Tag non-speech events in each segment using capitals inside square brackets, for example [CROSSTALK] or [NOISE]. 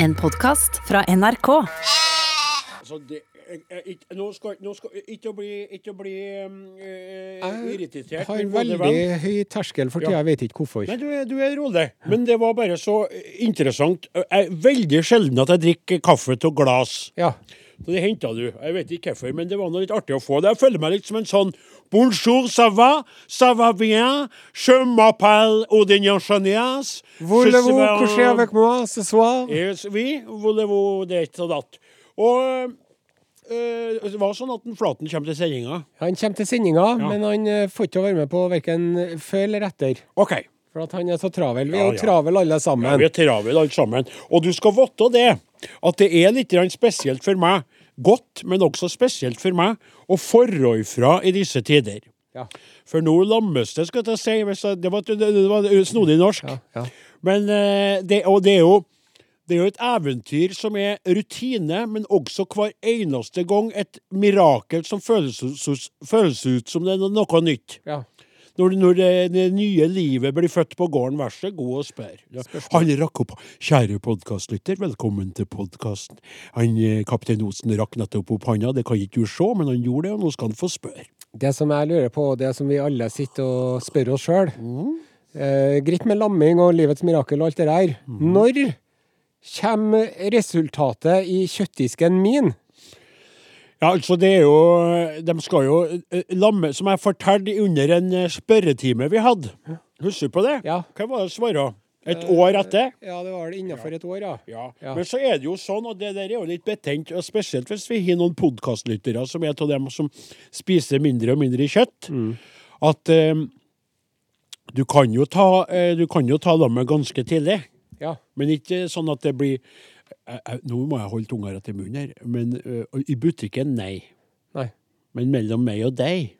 En podkast fra NRK. Altså, det, jeg, jeg, ikke- nå skal, nå skal ikke å bli, ikke å bli um, eh, irritert. har min gode veldig venn. høy terskel for tida, Ja. jeg vet ikke hvorfor. Nei, du er, du er rolig. Men det var bare så interessant. Jeg, er veldig sjelden at jeg drikker kaffe til glass. Ja. Så det henta du. Jeg vet ikke hvorfor, men det var noe litt artig å få det. Jeg føler meg litt som en sånn Bonjour, ça va? Ça va bien? Je m'appelle Odin Chanias. Voulez-vous coucher avec moi ce soir? Yes, vi, voulez-vous det og datt. Og eh, det var sånn at den Flaten kommer til sendinga. Han kommer til sendinga, men han eh, får ikke være med på verken før eller etter. OK. For at han er så travel. Vi Ja, er jo ja. travel alle Ja, sammen. vi er travle alle sammen. Og du skal vite det, at det er litt grann spesielt for meg, godt, men også spesielt for meg, å forrå ifra i disse tider. Ja. For nå lammes det, skal jeg til å si. hvis jeg- Det var, det var snodig norsk. ja. Men eh, det, og det er jo det er jo et eventyr som er rutine, men også hver eneste gang et mirakel som føles, ut- føles ut som det er noe nytt. Ja. Når, når det, det nye livet blir født på gården, vær så god og spør. Ja. Han rakk opp. Kjære podkastlytter, velkommen til podkasten. Han, eh, Kaptein Osen rakk nettopp opp hånda, det kan ikke du se, men han gjorde det, og nå skal han få spørre. Det som jeg lurer på, og det som vi alle sitter og spør oss sjøl Mm. eh, Greit med lamming og livets mirakel og alt det der. Mm. Når kommer resultatet i kjøttdisken min? Ja, altså det er jo De skal jo eh, lamme, Som jeg fortalte under en eh, spørretime vi hadde. Husker du på det? Ja. Hva var det svaret? Et år etter? Ja, det var det innafor et år, Ja. Ja. Men så er det jo sånn, og det der er jo litt betent, og spesielt hvis vi har noen podkastlyttere som er av dem som spiser mindre og mindre kjøtt, Mm. at eh, du kan jo ta, eh, du kan jo ta lammet ganske tidlig. Ja. Men ikke sånn at det blir jeg- jeg- Nå må jeg holde tunga rett i munnen her, men eh, i butikken, nei. Nei. Men mellom meg og deg,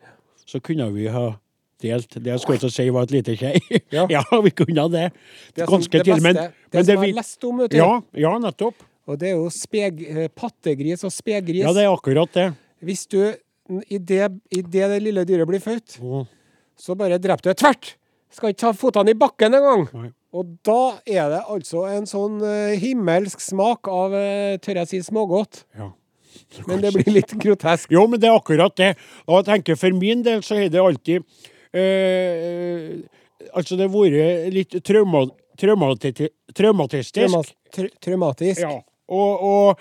så kunne vi ha delt Det jeg skulle til å si, var et lite skei. [LAUGHS] Ja. Ja. vi kunne ha det. Det som- Ganske det til, men, beste- det men som jeg vil- har lest om, vet du. ja, ja, nettopp. Og det er jo speg, eh, pattegris og spegris. Ja, det er akkurat det. Hvis du, i det, i det det lille dyret blir født, Mhm. så bare dreper du det tvert! Skal ikke ta fotene i bakken engang! Nei. Og da er det altså en sånn eh, himmelsk smak av, eh, tør jeg si, smågodt. Ja. Men det blir litt [LAUGHS] grotesk. Jo, men det er akkurat det. Og jeg tenker For min del så har det alltid eh, Altså, det har vært litt trauma, traumati- traumatistisk. Trauma- tr- Traumatisk. Ja, og, og,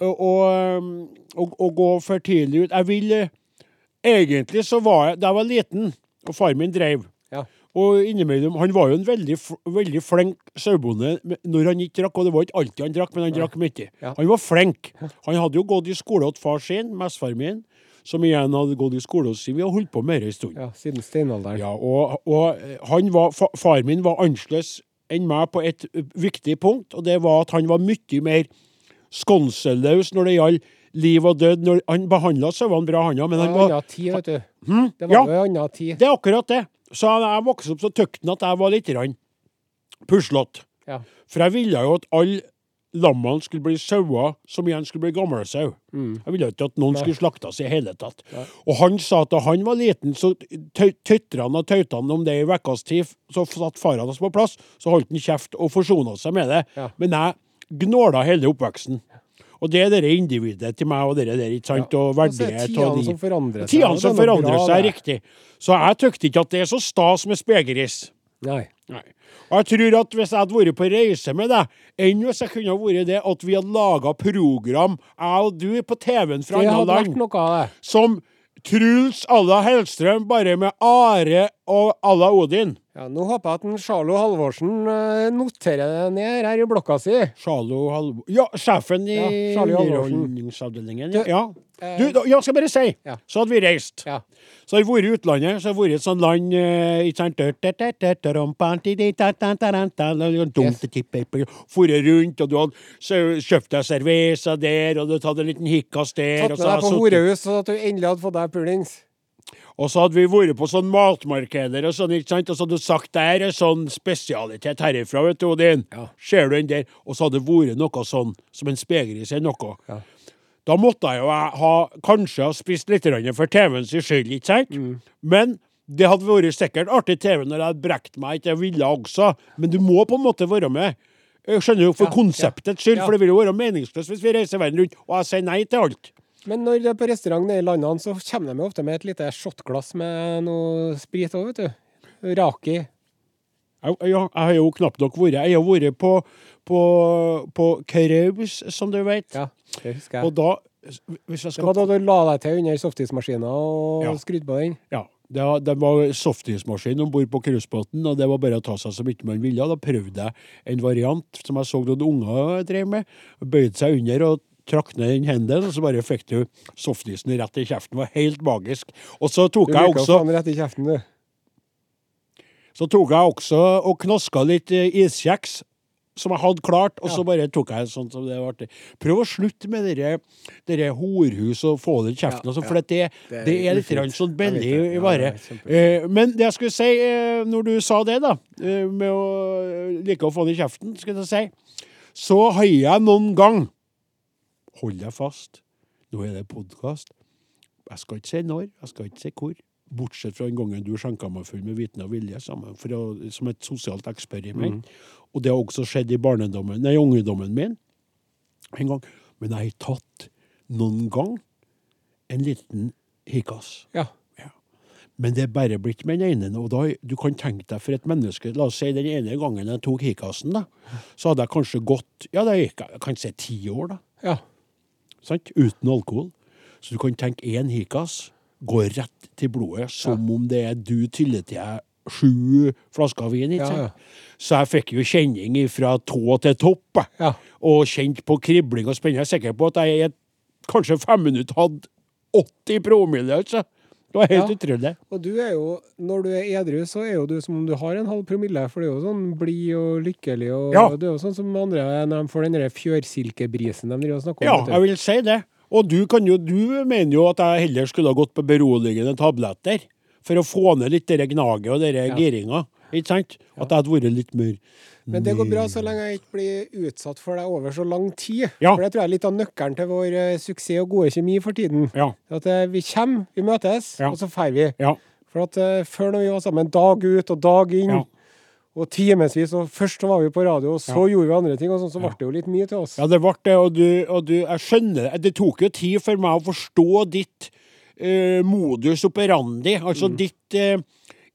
og, og, um, og, og gå for tidlig ut. Jeg vil eh, Egentlig så var jeg Da jeg var liten, og far min dreiv Ja. Og innimellom Han var jo en veldig, fl- veldig flink sauebonde men når han ikke drakk, og det var ikke alltid han drakk, men han drakk mye. Ja. Han var flink. Han hadde jo gått i skole hos far sin, bestefar min, som igjen hadde gått i skole hos sin. Vi har holdt på med det en stund. Ja, siden steinalderen. Ja, og, og eh, han var, fa- far min var annerledes enn meg på et eh, viktig punkt, og det var at han var mye mer skånseløs når det gjaldt liv og død. Når han behandla sauene bra, han ja, men Det han var var, anna tid, vet du. Det Hmm? Ja. var jo anna tid. det er akkurat det. Så da jeg vokste opp, så tykte han at jeg var litt grann puslete. Ja. For jeg ville jo at alle lammene skulle bli sauer, som igjen skulle bli gamle sau. Mm. Jeg ville jo ikke at noen skulle slaktes i hele tatt. Og han sa at da han var liten, så tøy- tytra han og tauta han om det i ukas tid. Så satt faren hans på plass, så holdt han kjeft og forsona seg med det. Ja. Men jeg gnåla hele oppveksten. Og det er det individet til meg, og det der, ikke sant? Og Og så er verdighet og tidene de- som forandrer seg, Tidene og som det er noe forandrer bra, seg, det. riktig. Så jeg tykte ikke at det er så stas med spegris. Nei. Nei. Og jeg tror at hvis jeg hadde vært på reise med deg, enn hvis jeg kunne ha vært det at vi hadde laga program, jeg og du, på TV-en fra Det andre hadde vært land, noe av det. som Truls à la Hellstrøm, bare med Are og à la Odin. Ja, nå håper jeg at en Charlo Halvorsen eh, noterer det ned her i blokka si. Charlo Halvo... Ja, sjefen i Ja, Charlie Halvorsen. underholdningsavdelingen. Du, eh, Ja. Du, da- ja, skal jeg bare si, Ja. så hadde vi reist. Ja. Så har vi vært i utlandet, så har vi vært i et sånt land eh, ikke sant? Vært rundt, og du hadde så kjøpt deg cerveza der, og du hadde tatt en liten hikkas der. Tatt Og med så, deg på hadde jeg horehus, så at du endelig hadde fått deg pulings. suttet- og så hadde vi vært på sånn matmarkeder og sånn, ikke sant? Og så hadde du sagt der er sånn spesialitet herifra, vet du, Odin. Ja. Ser du den der? Og så hadde det vært noe sånn, som en spegris eller noe. Ja. Da måtte jeg jo ha, kanskje ha spist litt grann for TV-ens skyld, ikke sant? Mm. Men det hadde vært sikkert artig TV når jeg hadde brekt meg, ikke jeg ville også. Men du må på en måte være med. Jeg skjønner jo for Ja, konseptets skyld, ja. for det vil jo være meningsløst hvis vi reiser verden rundt og jeg sier nei til alt. Men når det er på restaurant nede i landene, så kommer de jo ofte med et lite shotglass med noe sprit òg, vet du. Raki. Jeg, ja, jeg har jo knapt nok vært Jeg har vært på, på, på Kraus, som du vet. Ja, det husker Og jeg. da hvis jeg Det skal, var da du la deg til under softismaskina og Ja. skrudde på den. ja, det, var- det var softismaskin om bord på cruisebåten, og det var bare å ta seg så mye man ville. Da prøvde jeg en variant som jeg så noen unger drev med. Bøyde seg under og trakk ned den hendene, og så bare fikk du softisen rett i kjeften. Det var helt magisk. Og så tok Du jeg bruker å få også den rett i kjeften, du. Så tok jeg også og knaska litt eh, iskjeks som jeg hadde klart, og så bare tok jeg sånn som det var artig. Prøv å slutte med dere, dere horhus og få det i kjeften, Ja, og sånn, ja. for at det, Det det, er er litt ufint. grann sånn Jeg vet billig det. Ja, vare. det er kjempe- Eh, Men det jeg skulle si, eh, når du sa det, da, eh, med å eh, like å få det i kjeften, skulle jeg si, så har jeg noen gang Hold deg fast. Nå er det podkast. Jeg skal ikke si når, jeg skal ikke si hvor. Bortsett fra den gangen du skjenka meg full med viten og vilje sammen, for å, som et sosialt Mm. eksperiment. Og det har også skjedd i barnedommen, nei, ungdommen min en gang. Men jeg har tatt noen gang en liten hikas. Ja. Men det er bare blitt med den ene. Og da, du kan tenke deg for et menneske La oss si den ene gangen jeg tok hikasen, da, så hadde jeg kanskje gått ja, det gikk, jeg kan si ti år, da ja. sant? uten alkohol. Så du kan tenke én hikas går rett til blodet, som om det er du tyller til deg sju flasker vin. Ja, ikke ja. sant? Så jeg fikk jo kjenning fra tå til topp, jeg. Ja. og kjente på kribling og spenning. Jeg er sikker på at jeg i et- kanskje fem minutter hadde 80 promille. altså. Det var helt Ja. utrolig. Og du er jo, når du er edru, så er jo du som om du har en halv promille, for du er jo sånn blid og lykkelig, og Ja. du er jo sånn som andre er når de får den der fjørsilkebrisen de driver og snakker Ja, om. vet du. jeg vil si det. Og du, kan jo, du mener jo at jeg heller skulle ha gått på beroligende tabletter for å få ned litt det gnaget og den giringa. Ikke sant? At jeg hadde vært litt mer Men det går bra så lenge jeg ikke blir utsatt for deg over så lang tid. Ja. For det tror jeg er litt av nøkkelen til vår eh, suksess og gode kjemi for tiden. Ja. At eh, vi kommer, vi møtes, Ja. og så drar vi. Ja. For at eh, før når vi var sammen dag ut og dag inn, Ja. og timevis, og først så var vi på radio, og så gjorde vi andre ting, og sånn, så ble det jo litt mye til oss. ja, det ble det, og du, og du Jeg skjønner det. Det tok jo tid for meg å forstå ditt eh, modus operandi, altså ditt eh,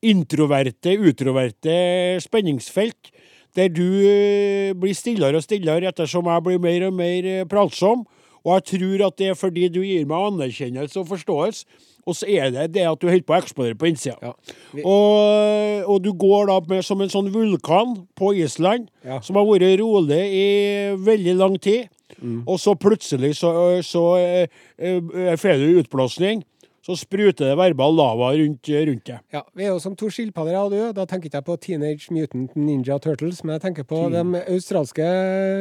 introverte, utroverte spenningsfelt. Der du eh, blir stillere og stillere ettersom jeg blir mer og mer eh, pratsom. Og jeg tror at det er fordi du gir meg anerkjennelse og forståelse. Og så er det det at du holder på å eksplodere på innsida. Ja. Vi- Og, og du går da med, som en sånn vulkan på Island, Ja. som har vært rolig i veldig lang tid. Mm. Og så plutselig så, så eh, eh, får du utblåsning. Så spruter det verbal lava rundt, eh, rundt deg. Ja, Vi er jo som to skilpadder, jeg og du. Da tenker ikke jeg på Teenage Mutant Ninja Turtles, men jeg tenker på de australske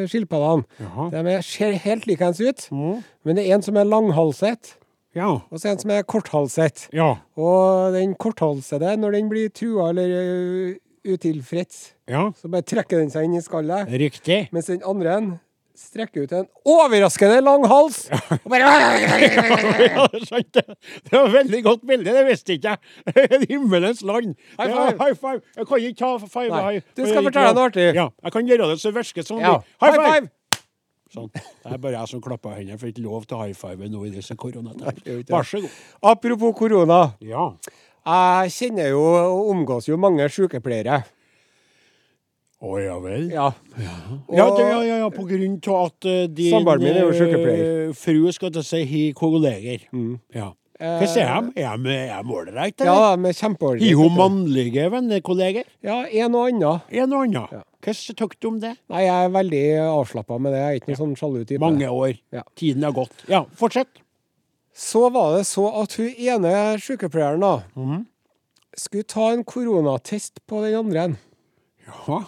skilpaddene. Jaha. Mm. De er- ser helt likeens ut, men det er en som er langhalset, Ja. og så er en som er korthalset. Ja. Og den korthalsede, når den blir trua eller ø, utilfreds, ja. så bare trekker den seg inn i skallet, Riktig. mens den andre en strekker ut en overraskende lang hals. Og [LAUGHS] bare Ja, det er sant. det. Det var et veldig godt bilde, det visste ikke jeg. [LAUGHS] Himmelens land. High Ja, five. high five. Jeg kan ikke ta five. Nei. high- Du skal fortelle noe artig. Ja, jeg kan gjøre det så virker som ja. det. High five! five! Sånn. Det er bare jeg som klapper hendene, for jeg fikk ikke lov til high five nå i disse det er jo koronatider. ikke det. Vær så god. Apropos korona. Ja. Jeg kjenner jo og omgås jo mange sykepleiere. Å ja vel. Ja, Ja. det, ja, ja, ja, på grunn av at eh, din Samboeren min er jo eh, sykepleier. Mm. Eh, Frue skal til å si hi kolleger. Ja. Hva sier de? Er de- er de ålreite, Ja, eller? de er Hi kjempeordentlige. ho mannlige vennekolleger? Ja, en og annen. En og annen. Hva syns du om det? Nei, jeg er veldig avslappa med det. Jeg er ikke noen sånn sjalu type. Mange år. Ja. Tiden har gått. Ja, fortsett. Så var det så at hun ene sykepleieren da, Mhm. skulle ta en koronatest på den andre. en. Ja.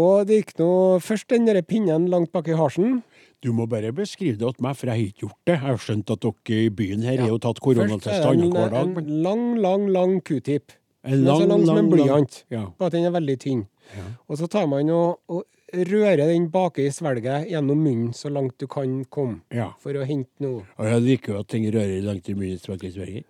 Og det gikk nå først den der pinnen langt bak i halsen. Du må bare beskrive det til meg, for jeg har ikke gjort det. Jeg har skjønt at dere i byen her er jo tatt Først er koronatest det annenhver dag. en, en lang, lang, lang q-tip. En Den er så lang som en blyant. Ja. Bare at den er veldig tynn. Og så tar man og, og rører den baki i svelget gjennom munnen så langt du kan komme. ja. For å hente noe. Og jeg liker jo at ting rører langt i mye tilbake i Sverige.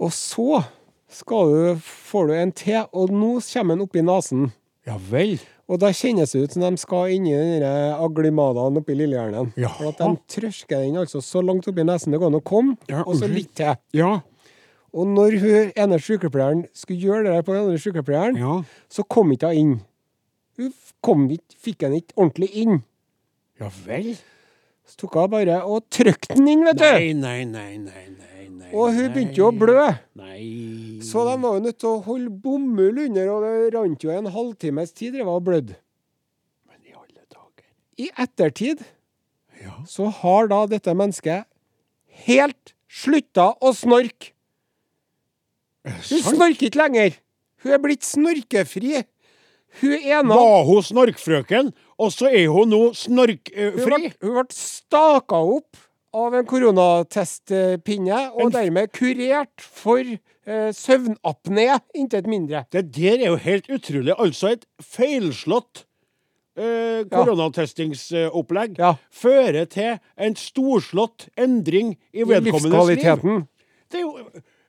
Og så skal du, får du en til, og nå kommer den oppi nesen. Ja vel. Og da kjennes det ut som de skal inn i den der eh, aglimadaen oppi lillehjernen. Ja. For at de trøsker den altså så langt oppi nesen det går an å komme, Ja, og så unnskyld. litt til. Ja. Og når hun ene sykepleieren skulle gjøre det der på den andre sykepleieren, Ja. så kom ikke hun inn. Hun f- kom ikke, fikk henne ikke ordentlig inn. Ja vel? Så tok hun bare og trykte den inn, vet du! Nei, nei, nei, nei, nei, nei. Og hun begynte jo å blø. Nei. Så de var jo nødt til å holde bomull under, og det rant jo en halvtimes tid det var blødd. Men i alle dager. I ettertid Ja. så har da dette mennesket helt slutta å snorke. Eh, Hun Sant. snorker ikke lenger. Hun er blitt snorkefri. Hun ena Var hun snorkfrøken, og så er hun nå Hun ble, snorkfri? hun ble staka opp av en koronatestpinne, og En f- dermed kurert for eh, søvnapné, intet mindre. Det der er jo helt utrolig. Altså et feilslått eh, koronatestingsopplegg Ja. fører til en storslått endring i vedkommendes liv. Livskvaliteten. Det er jo...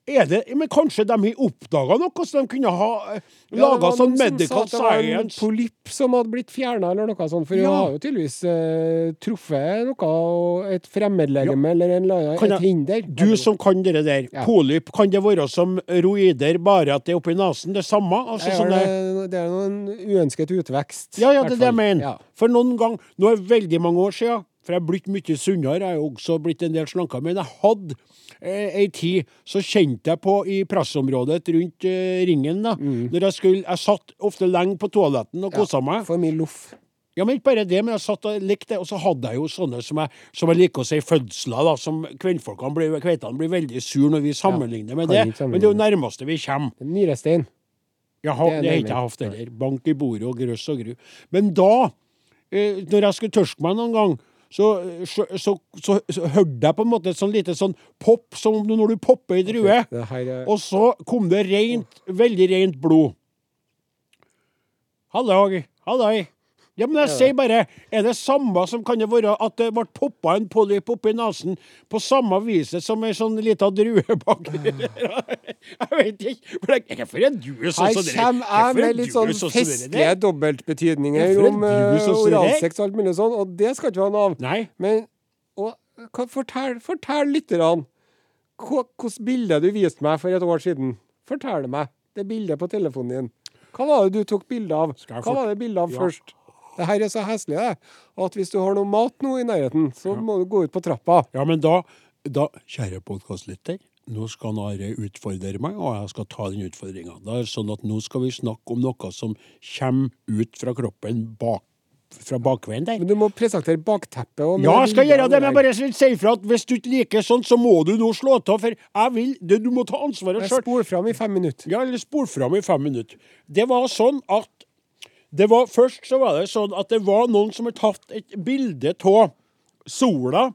Er det, men kanskje de har oppdaga noe, så de kunne ha eh, Ja, det laga var sånn noen som medical sa at det var science. En polypp som hadde blitt fjerna, eller noe sånt. For Ja. hun har jo tydeligvis eh, truffet noe, og et fremmedlegeme eller en eller annen, Kan jeg- et hinder. Du som kan det der, Ja. polyp, kan det være som roider, bare at det er oppi nesen? Det samme? Altså, det er, sånne, det, det er noen uønsket utvekst. ja, ja, i hvert det er det jeg fall. mener. Ja. For noen gang, nå er det veldig mange år siden, for jeg er blitt mye sunnere, jeg er jo også blitt en del slankere, men jeg hadde eh, ei tid, så kjente jeg på i pressområdet rundt eh, ringen, da, Mm. når jeg skulle, jeg satt ofte lenge på toaletten og koset meg. For mye loff. Ja, men ikke bare det, men jeg satt og likte det, og så hadde jeg jo sånne som jeg, som jeg liker å si fødsler, da, som kvinnfolkene blir, kveitene blir veldig sur når vi sammenligner med kan det, ikke sammenligne. men det er jo nærmeste vi kommer. Nyrestein. Jeg har, Det er det har nemlig- ikke jeg hatt heller. Bank i bordet og grøss og gru. Men da, eh, når jeg skulle tørske meg noen gang, så, eh, så, så, så, så hørte jeg på en måte et sånn lite sånn pop, som om når du popper ei drue. Det her eh, er Og så kom det rent, veldig rent blod. Halloi, halloi. Ja, men jeg sier bare, er det samme som kan det være at det ble poppa en polyp oppi nesen på samme viset som ei sånn lita drue [LAUGHS] bak der? Jeg vet ikke. For det er for en due sånn Her som dere- kommer hvorfor jeg er med litt du sånn sånn som dere festlige der? dobbeltbetydninger Hvorfor er om du eh, sånn som dere? oralsex og alt mulig sånn, og det skal ikke vi ha noe av. Nei. Men og, hva, fortell, fortell lytterne hva- Hvilket bilde du viste meg for et år siden. Fortell meg det bildet på telefonen din. Hva var det du tok bilde av? Skal jeg Hva fort- var det bildet av Ja. først? Det her er så heslig, det. At hvis du har noe mat nå i nærheten, så må du gå ut på trappa. Ja, men da, da kjære podkastlytter, nå skal han Are utfordre meg, og jeg skal ta den utfordringa. Det er sånn at nå skal vi snakke om noe som kommer ut fra kroppen bak, fra bakveien der. Men du må presentere bakteppet. og- Ja, jeg skal bilder gjøre og det, men jeg der. bare vil si ifra at hvis du ikke liker sånt, så må du nå slå av, for jeg vil det, Du må ta ansvaret Jeg sjøl. spoler fram i fem minutter. Ja, eller spol fram i fem minutter. Det var sånn at det var, Først så var det sånn at det var noen som hadde tatt et bilde av sola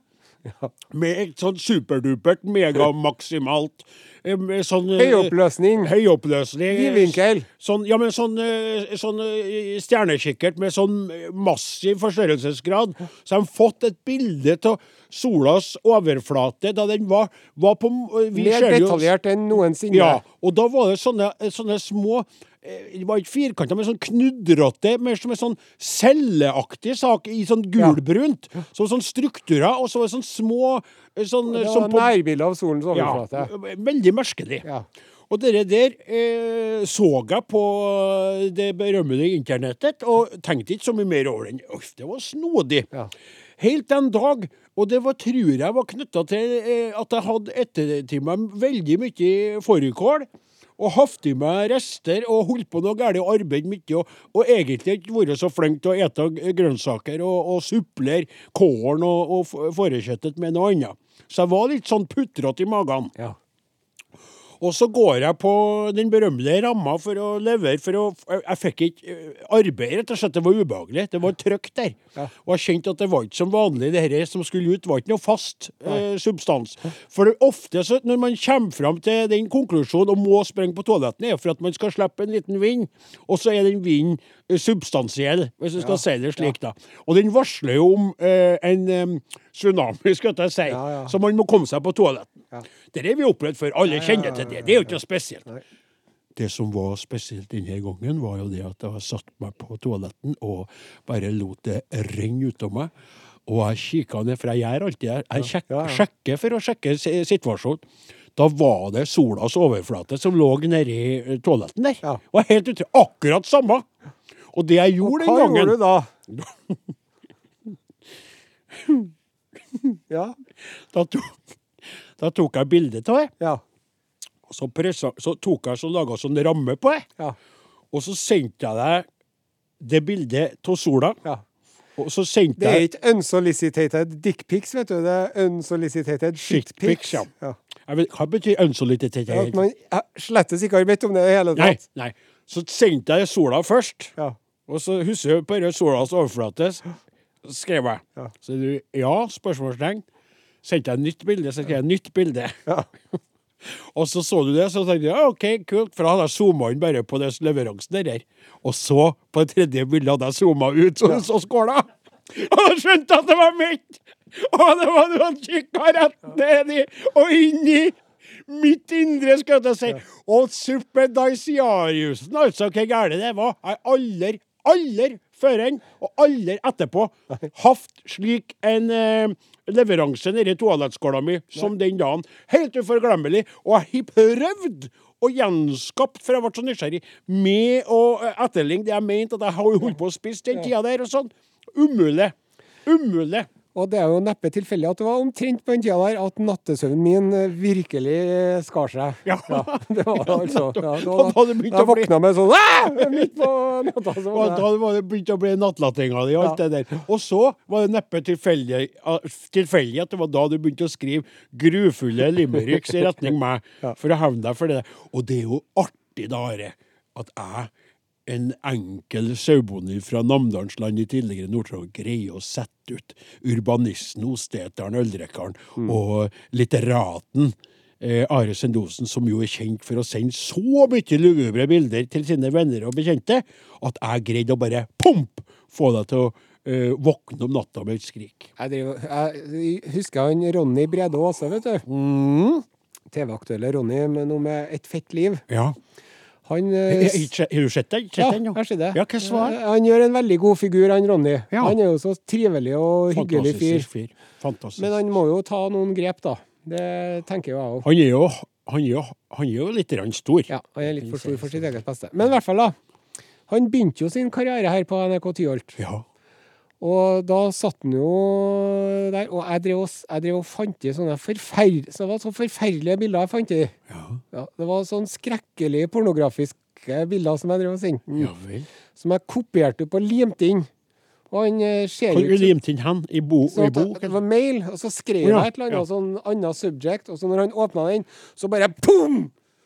med et sånn superdupert, megamaksimalt eh, med sånn eh, Høyoppløsning. Høyoppløsning. Vidvinkel. Sånn, ja, men sånn, eh, sånn eh, stjernekikkert med sånn eh, massiv forstørrelsesgrad. Så har de fått et bilde av solas overflate da den var, var på vi Mer ser det jo- detaljert enn noensinne. ja, og da var det sånne, sånne små eh, Det var ikke firkanter, men sånn knudrete, mer som en sånn celleaktig sak i sånn gulbrunt. Så sånn strukturer, og så var det sånn små eh, sånn, Det var som på- nærbilde av solens ja, overflate. Veldig merkelig. Ja. Og det der eh, så jeg på det berømmede internettet, og tenkte ikke så mye mer over den. Uff, det var snodig. Ja. Helt en dag, og det var, tror jeg var knytta til eh, at jeg hadde ettertimer veldig mye fårikål. Og hatt i meg rester og holdt på noe galt og arbeidet mye. Og, og egentlig ikke vært så flink til å ete g- grønnsaker og, og supplere kålen og, og f- fårekjøttet med noe annet. Så jeg var litt sånn putrete i magen. Ja. Og så går jeg på den berømmelige ramma for å levere, for å Jeg jeg fikk ikke eh, arbeid, rett og slett. Det var ubehagelig. Det var trøkk der. Og jeg kjente at det var ikke som vanlig. Det her som skulle ut, var ikke noe fast eh, substans. For det, ofte så, når man kommer fram til den konklusjonen og må sprenge på toaletten, er jo for at man skal slippe en liten vind, og så er den vinden eh, substansiell, hvis du skal si det slik, da. Og den varsler jo om eh, en eh, tsunami, skal jeg si. Ja, ja. Så man må komme seg på toaletten. Det er det vi har opplevd før. Alle kjenner til det. Det er jo ikke noe spesielt. det som var spesielt denne gangen, var jo det at jeg satte meg på toaletten og bare lot det renne ut av meg. Og jeg kikka ned, for jeg gjør alltid det. Jeg sjek, Ja, ja. sjekker for å sjekke si- situasjonen. Da var det solas overflate som lå nedi toaletten der. Ja. Og helt utrolig. Akkurat samme! Og det jeg gjorde Hva den gangen gjorde du da? ja. Da tok, [LAUGHS] da tok jeg bilde av det. Ja. Og så, pressa, så tok jeg så laga sånn ramme på det. Ja. Og så sendte jeg deg det bildet av sola. ja. Og så sendte Det er jeg ikke unsolicited dickpics, vet du. Det er unsolicited shitpics. Shitpics, ja. Ja. jeg vet, Hva betyr unsolicited? At man eh, slettes ikke har bedt om det i hele Nei, tatt. nei. Så sendte jeg sola først. Ja. Og så husker jeg bare solas overflate, s- skrev jeg. Ja. Så du Ja? Spørsmålstegn. Sendte jeg nytt bilde, så skrev jeg nytt bilde. Ja. Og så så du det, så tenkte jeg «Ah, OK, kult, for da hadde jeg zooma inn bare på den leveransen der. her. Og så, på det tredje bildet, hadde jeg zooma ut, så, så skåla! [LAUGHS] Og da skjønte jeg at det var mitt! Og det var noen kikka rett ned i, og inn i mitt indre, skal jeg si. Og superdaisiariusen, altså, hvor gærent det var. Jeg har aldri, aldri før enn, og aldri etterpå, hatt slik en eh, leveranse nedi toalettskåla mi som den dagen. Helt uforglemmelig. Og jeg har prøvd og gjenskapt, for jeg ble så nysgjerrig, med å eh, etterligne det jeg mente at jeg har holdt på å spise den tida der, og sånn. Umulig. Umulig. Og det er jo neppe tilfeldig at det var omtrent på den tida der at nattesøvnen min eh, virkelig eh, skar seg. [LAUGHS] Ja. det var det altså. Ja, det Og da hadde det begynt da å bli- våkna jeg med sånn «Æ!» midt på natta. Så Og var det. da var det begynt å bli nattlattinga di og alt Ja. det der. Og så var det neppe tilfeldig ah, tilfeldig at det var da du begynte å skrive grufulle limericks i [LAUGHS] retning meg, for å hevne deg for det. Og det er jo artig, da, Are, at jeg, en enkel sauebonde fra Namdalsland i tidligere Nord-Trøndelag, greier å sette ut urbanisten, osteteren, øldrikkeren Mm. og litteraten. Eh, Are Sendosen, som jo er kjent for å sende så mye lugubre bilder til sine venner og bekjente, at jeg greide å bare pomp, få deg til å eh, våkne om natta med et skrik. Jeg, driver, jeg husker han Ronny Brede Aase, vet du. Mm. TV-aktuelle Ronny, men noe med et fett liv. Ja. Han Har eh, du sett den? Sett den, ja, jeg ser det. Ja, hva svar? Eh, Han gjør en veldig god figur, han Ronny. Ja. Han er jo så trivelig og Eh, hyggelig fyr. Fantastisk fyr. Fantastisk. Men han må jo ta noen grep, da. Det tenker jo jeg òg. han er jo, han er jo, han er jo litt grann stor. Ja, han er litt for stor for sitt eget beste. Men i hvert fall, da. Han begynte jo sin karriere her på NRK Tyholt, Ja. og da satt han jo der. Og jeg drev og, s- jeg drev og fant i sånne forferd... Så det var så forferdelige bilder jeg fant i. Ja. Ja, det var sånn skrekkelig pornografiske bilder som jeg drev og sendte. ja vel. Som jeg kopierte opp og limte inn. Og han eh, ser Hvor jo er ut som limt inn hen? I, bo, i Så at bok? det var mail, og så skrev Å ja, jeg et eller annet ja. sånn annet subject, og så når han åpna den, så bare boom!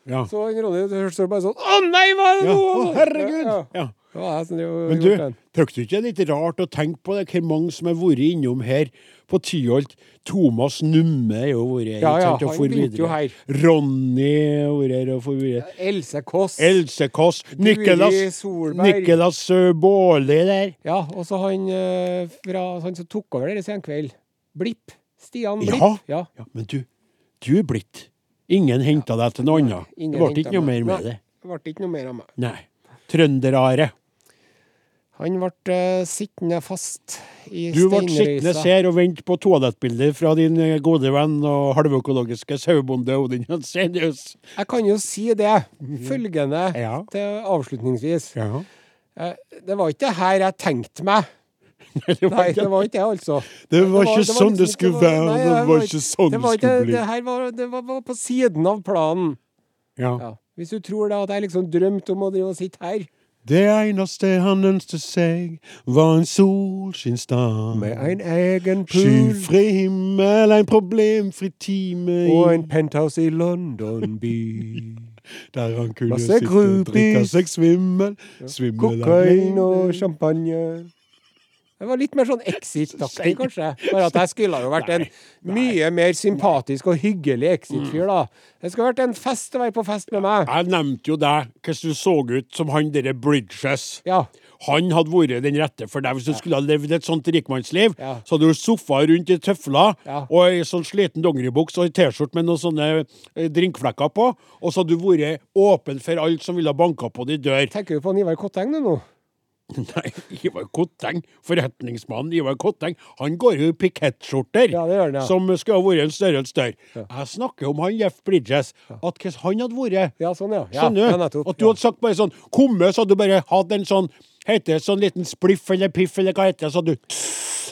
Ja. Så han Ronny det hørtes det bare sånn Å nei, hva er det ja. nå?! Å, herregud! Ja, ja. Ja. Det var jeg som drev og Men du, gjorde den. tøkte du ikke det er litt rart å tenke på det? Hvor mange som har vært innom her på Tyholt? Thomas Numme har jo vært her. Ja, ikke ja, sant, og han for begynte jo videre. Ronny har vært her og for videre. Else Kåss. Else Kåss. Nicolas Solberg. Nicolas eh, Baarli der. Ja, og så han eh, fra Han som tok over dere senkveld. Blipp. Stian Ja. Blipp. Ja. Ja, men du, du er blitt. Ingen henta deg til noe annet. Ingen Det ble tenkte ikke noe meg. mer med Nei, det. Det ble ikke noe mer av meg. Nei. Trønder-Are. Han ble eh, sittende fast i Du ble sittende steinrøysa. her og vente på toalettbilder fra din eh, gode venn og halvøkologiske sauebonde Odin Jensenius. Jeg kan jo si det. Følgende Mhm. Ja. til avslutningsvis. Ja. Eh, Det var ikke det her jeg [LAUGHS] tenkte meg. Det var Nei, ikke det var ikke det, altså. Det var ikke liksom sånn det skulle var- være, nei, det var ikke sånn det var det skulle ikke- bli. Det her var, det var, var på siden av planen. ja. Ja. Hvis du tror da at jeg liksom drømte om å drive og sitte her Det eneste han ønsket seg, var en solskinnsdag. Med en egen pool Skyfri himmel, en problemfri time i- og en penthouse i London [LAUGHS] by. Der han kunne Masse sitte og drikke groupies. seg svimmel. Svimmel av Kokain og glede. champagne. Jeg Det var litt mer sånn exit-aktig, kanskje. Bare at jeg skulle jo vært en mye mer sympatisk og hyggelig Mm. exit-fyr, da. Det skulle vært en fest å være på fest med meg. Jeg nevnte jo deg, hvordan du så ut som han derre Bridges. Ja. Han hadde vært den rette for deg hvis du skulle ha levd et sånt rikmannsliv. Ja. Så hadde du sofa rundt i tøfler Ja. og ei sånn sliten dongeribuks og ei T-skjorte med noen sånne eh, drinkflekker på, og så hadde du vært åpen for alt som ville ha banka på din dør. [LAUGHS] Tenker du på Ivar Kotteng du, nå? Nei, Ivar Kotteng, forretningsmannen Ivar Kotteng, han går jo i pikettskjorter, Ja, det gjør han, ja. som skulle ha vært en størrelse større. Jeg snakker om han Jeff Bridges, at hvordan han hadde vært. Ja, sånn, ja. Ja, Skjønner ja, du? nettopp, At du ja. hadde sagt bare sånn Komme, så hadde du bare hatt en sånn Heter det sånn liten spliff eller piff eller hva heter det, så hadde du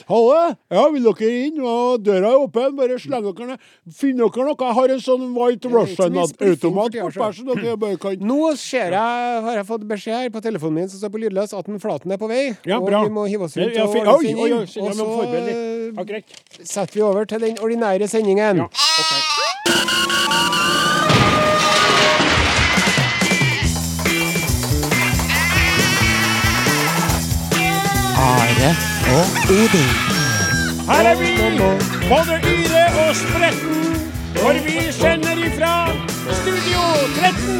Halle, ja, vil dere inn? Ja, døra er åpen, bare sleng dere ned. Finn dere noe? Jeg har en sånn White er litt som en spliffing for Russian-automat tida, på sjø. persen, at jeg bare kan Nå ser jeg, har jeg fått beskjed her på telefonen min som står på lydløs, at den flaten er på vei. Ja, og bra. vi må hive oss Ja, rundt ja, og fi- ordne oi, oi, oi, sending. så jeg Og må forberede litt. Ja, så greit. eh, setter vi over til den ordinære sendingen. Ja, ok. Her er vi, både Yre og Spretten, for vi sender ifra Studio 13.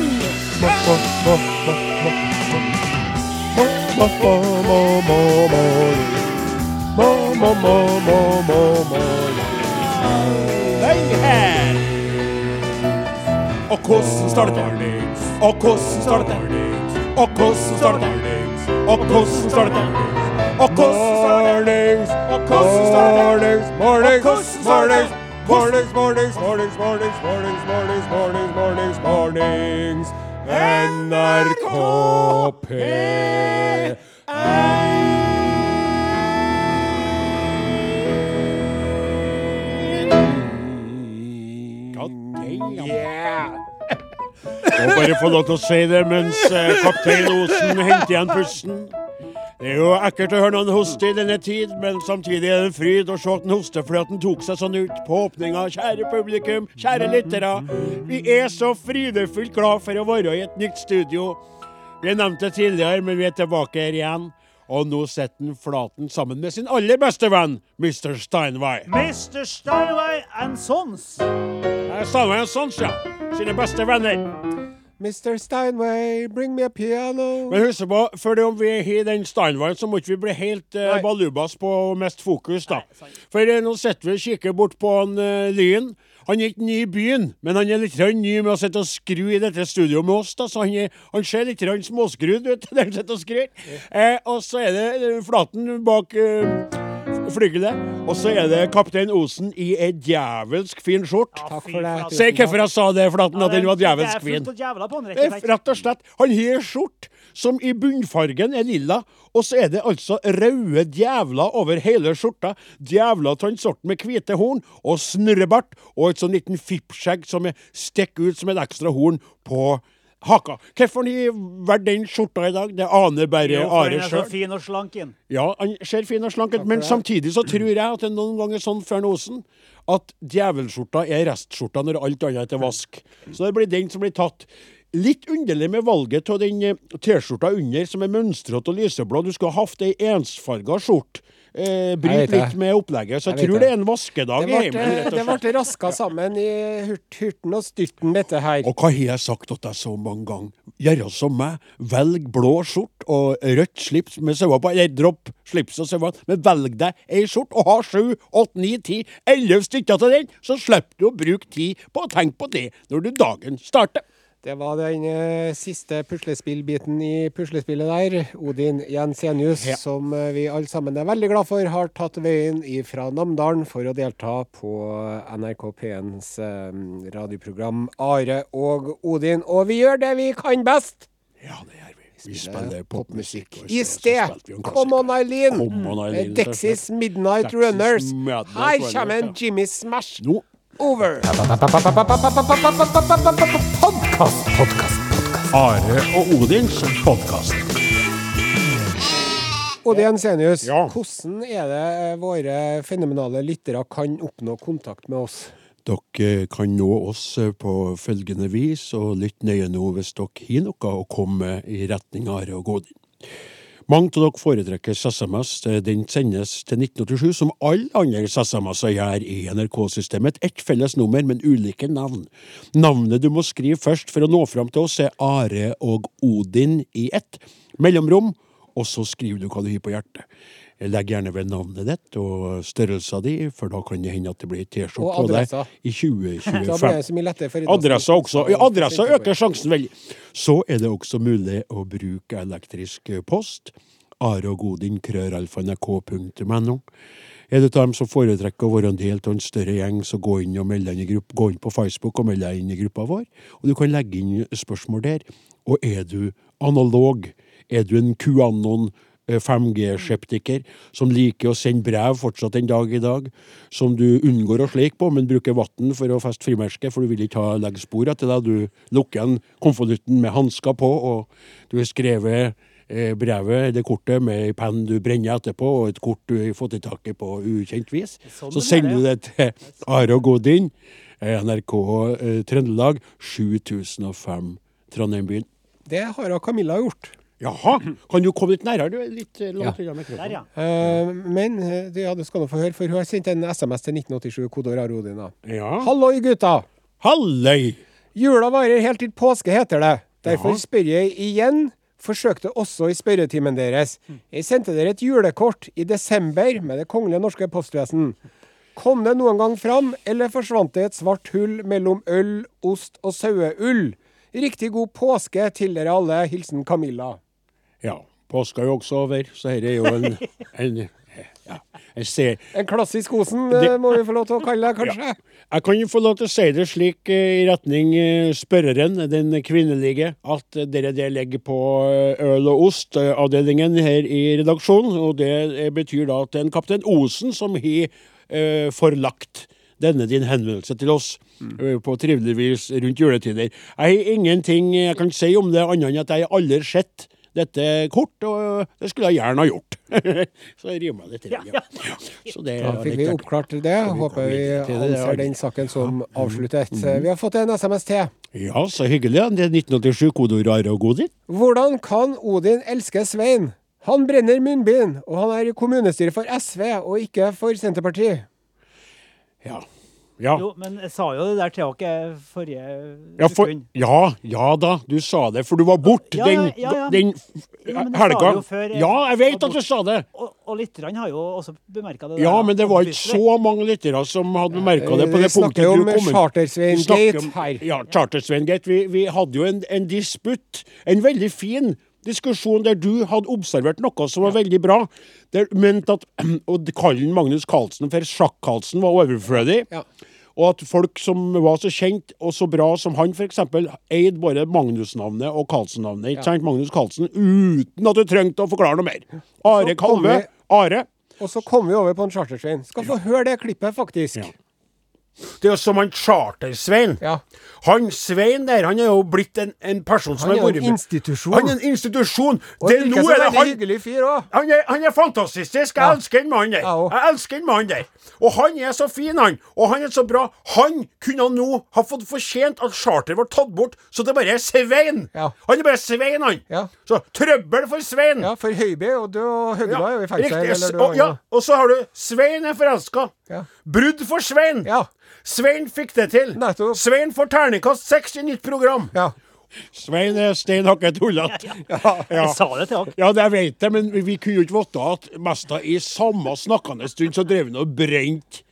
Hei her! Og hvordan starter det? Og hvordan starter det? Og hvordan starter det? Og hvordan starter det? Og hvordan starter det? Og hvordan starter det? Og hvordan starter det? Hvordan- NRK P1. Må bare få lov til å si det mens eh, kaptein Osen henter igjen pusten. Det er jo ekkelt å høre noen hoste i denne tid, men samtidig er det en fryd å se at den hoster fordi at den tok seg sånn ut på åpninga. Kjære publikum, kjære lyttere. Vi er så frydefullt glad for å være i et nytt studio. Vi nevnte det tidligere, men vi er tilbake her igjen. Og nå sitter den Flaten sammen med sin aller beste venn, Mr. Steinway. Mr. Steinway and Sons. Eh, Steinway og Sons, ja. Sine beste venner. Mr. Steinway, bring me a piano. Men husk på, før det om vi er i den standveien, så må ikke vi bli helt eh, Nei. balubas på mest fokus, da. For eh, nå sitter vi og kikker bort på han eh, Lyn. Han er ikke ny i byen, men han er litt grann ny med å sitte og skru i dette studioet med oss. da, Så han, er, han ser litt grann småskrudd ut [LAUGHS] der han sitter og skrur. Eh, og så er det eh, Flaten bak eh, flygelet. Og så er det kaptein Osen i ei djævelsk fin skjorte. Takk for det. Si hvorfor jeg sa det, Flaten, at den var Det djevelsk er fin. fullt av djevler på en Det rekke er vekk. rett og slett Han har en skjort som i bunnfargen er lilla, og så er det altså røde djevler over hele skjorta. Djevler av den sorten med hvite horn og snurrebart og et sånn liten fippskjegg som er- stikker ut som et ekstra horn på haka. Hvorfor har han valgt den skjorta i dag? Det aner bare Jo, for Are den er så sjøl. fin og slank inn. Ja, han ser fin og slank ut, men samtidig så tror jeg at det noen ganger er sånn før Osen at djevelskjorta er restskjorta når alt annet er til vask. Så det blir den som blir tatt. Litt underlig med valget av den eh, T-skjorta under som er mønstrete og lyseblå. Du skulle ha hatt ei ensfarga skjorte. Eh, Jeg vet Bryt det. litt med opplegget. Så jeg, Jeg vet tror det. det er en vaskedag i Det heimen. rett og ble, slett. det ble raska sammen i hurt, hurten og styrten, dette her. Og hva har jeg sagt til deg så mange ganger? Gjøre som meg, velg blå skjort og rødt slips med sauer på, eller dropp slips og sauer, men velg deg ei skjort og ha sju, åtte, ni, ti, elleve stykker til den, så slipper du å bruke tid på å tenke på det når du dagen starter. Det var den eh, siste puslespillbiten i puslespillet der. Odin Jensenius, Ja. som eh, vi alle sammen er veldig glad for, har tatt veien fra Namdalen for å delta på NRK P1s eh, radioprogram Are og Odin. Og vi gjør det vi kan best! Ja, det gjør vi. Vi spiller popmusikk. og I så sted! spilte vi en Come on, klassiker. Eileen! Come on, Eileen, Eh, Dexys Midnight Dexys Runners. Midnight Her Runners, kommer ja. en Jimmy Smash. Nå Over! Are og Odins podkast. Odd Jensenius, Ja. hvordan er det eh, våre fenomenale lyttere kan oppnå kontakt med oss? Dere kan nå oss på følgende vis, og lytt nøye nå hvis dere har noe å komme med i retning Are og Godin. Mange av dere foretrekker SMS. Den sendes til 1987, som alle andre SMS-er gjør i NRK-systemet. Ett felles nummer, men ulike navn. Navnet du må skrive først for å nå fram til oss, er Are og Odin i ett. Mellomrom, og så skriver du hva du har på hjertet. Legg gjerne ved navnet ditt og størrelsen din, for da kan det hende at det blir T-skjorte Og på deg adressa. i Da blir 2025. det så mye sånn lettere. for Adressa også. Ja, adressa øker sjansen veldig. Så er det også mulig å bruke elektrisk post. arogodinkrøralfa.nrk.no. Er du av dem som foretrekker å være en del av en større gjeng, så gå inn, og meld deg inn, i grupp, gå inn på Facebook og meld deg inn i gruppa vår. Og Du kan legge inn spørsmål der. Og er du analog? Er du en QAnon? eh, 5G-skeptiker som liker å sende brev fortsatt en dag i dag, som du unngår å sleike på, men bruker vann for å feste frimerket, for du vil ikke ha legge spor etter deg. Du lukker igjen konvolutten med hansker på, og du har skrevet eh, brevet eller kortet med en penn du brenner etterpå, og et kort du har fått i taket på ukjent vis. Sånn Så det sender er, du det til Are og Godin, eh, NRK eh, Trøndelag, 7005 Trondheim-byen. Det har da Camilla gjort. Jaha! Kan du komme litt nærmere? Du er litt eh, langt unna mikrofonen. Der, ja. Eh, men eh, ja, du skal nå få høre, for hun har sendt en SMS til 1987, kodeord Arodin. da. Ja. Halloi, gutta! Halløy! Jula varer helt til påske, heter det. Derfor Ja. spør jeg igjen. Forsøkte også i spørretimen deres. Mm. Jeg sendte dere et julekort i desember med Det kongelige norske postvesen. Kom det noen gang fram, eller forsvant det i et svart hull mellom øl, ost og saueull? Riktig god påske til dere alle. Hilsen Camilla. Ja. Påska er jo også over, så dette er jo [LAUGHS] en, en ja, jeg, ser, En klassisk Osen, Det- eh, må vi få lov til å [LAUGHS] kalle det, kanskje? jeg kan jo få lov til å si det slik eh, i retning eh, spørreren, den kvinnelige, at eh, dere der ligger på eh, øl- og ostavdelingen her i redaksjonen. Og det eh, betyr da at det er en kaptein Osen som har eh, forlagt denne din henvendelse til oss Mm. eh, på trivelig vis rundt juletider. Jeg har ingenting eh, jeg kan si om det, annet enn at jeg har aldri sett dette kort, og det skulle jeg gjerne ha gjort. [LAUGHS] Så det rimer litt. til, Ja, Så det Da var fikk litt vi artig. oppklart det. Håper vi videre til det, Mm. det er anser den saken som avsluttet. Vi har fått en SMS til. Ja, så hyggelig. ja. Det er 1987, kodeord Are og Godin. Hvordan kan Odin elske Svein? Han brenner munnbind, og han er i kommunestyret for SV og ikke for Senterpartiet. Ja. Ja. Jo, men jeg sa jo det der til dere forrige Ah. Ja, for, sekund. ja, ja da, du sa det, for du var borte Ja, den, ja, ja. den Ja, men du sa det helga. jo før eh, jeg Ja, jeg vet var at du sa det! Og, og lytterne har jo også bemerka eh, det. der, Ja, men det var ikke obviously. så mange lyttere som hadde merka det på Vi det punktet snakker jo du om kom inn. Charter-Svein Vi snakker om- Gate her. Ja, Charter-Svein-Gate. Vi, vi hadde jo en, en disputt, en veldig fin diskusjon der du hadde observert noe som var veldig bra. Der mente at [CLEARS THROAT] Og kallen Magnus Carlsen for Sjakk-Carlsen var overflødig. Ja. Og at folk som var så kjent og så bra som han, f.eks., eide bare Magnus-navnet og Carlsen-navnet. Ikke sant? Magnus Carlsen, uten at du trengte å forklare noe mer. Are Så kom Kalve. Are. Og så kom vi over på en Charter-Svein. Skal få høre det klippet, faktisk. Ja. Det er jo som han Charter-Svein. Ja. Han Svein der, han er jo blitt en, en person som Han er har jo vært en med- institusjon. Han er en institusjon. Og Det, han virker nå er som en det veldig han hyggelig fyr òg. han er, han er fantastisk. Jeg Ja. elsker den mannen der. Jeg også. Jeg elsker den mannen der. Og han er så fin, han. Og han er så bra. Han kunne nå ha fått fortjent at charter ble tatt bort, så det bare er Svein. Ja. Han er bare Svein, han. Ja. Så trøbbel for Svein. Ja, for Høiby og du og Høgda er jo i fengsel. riktig. eller du og, er- ja. og så har du Svein er forelska. Ja. Brudd for Svein. Ja. Svein fikk det til. Nettopp. Svein får terningkast seks i nytt program. ja. Svein er stein hakket tullete. Ja. Jeg sa det til dere. Ja, det jeg vet det, men vi- vi kunne jo ikke vite at mesta i samme snakkende stund så drev han og brente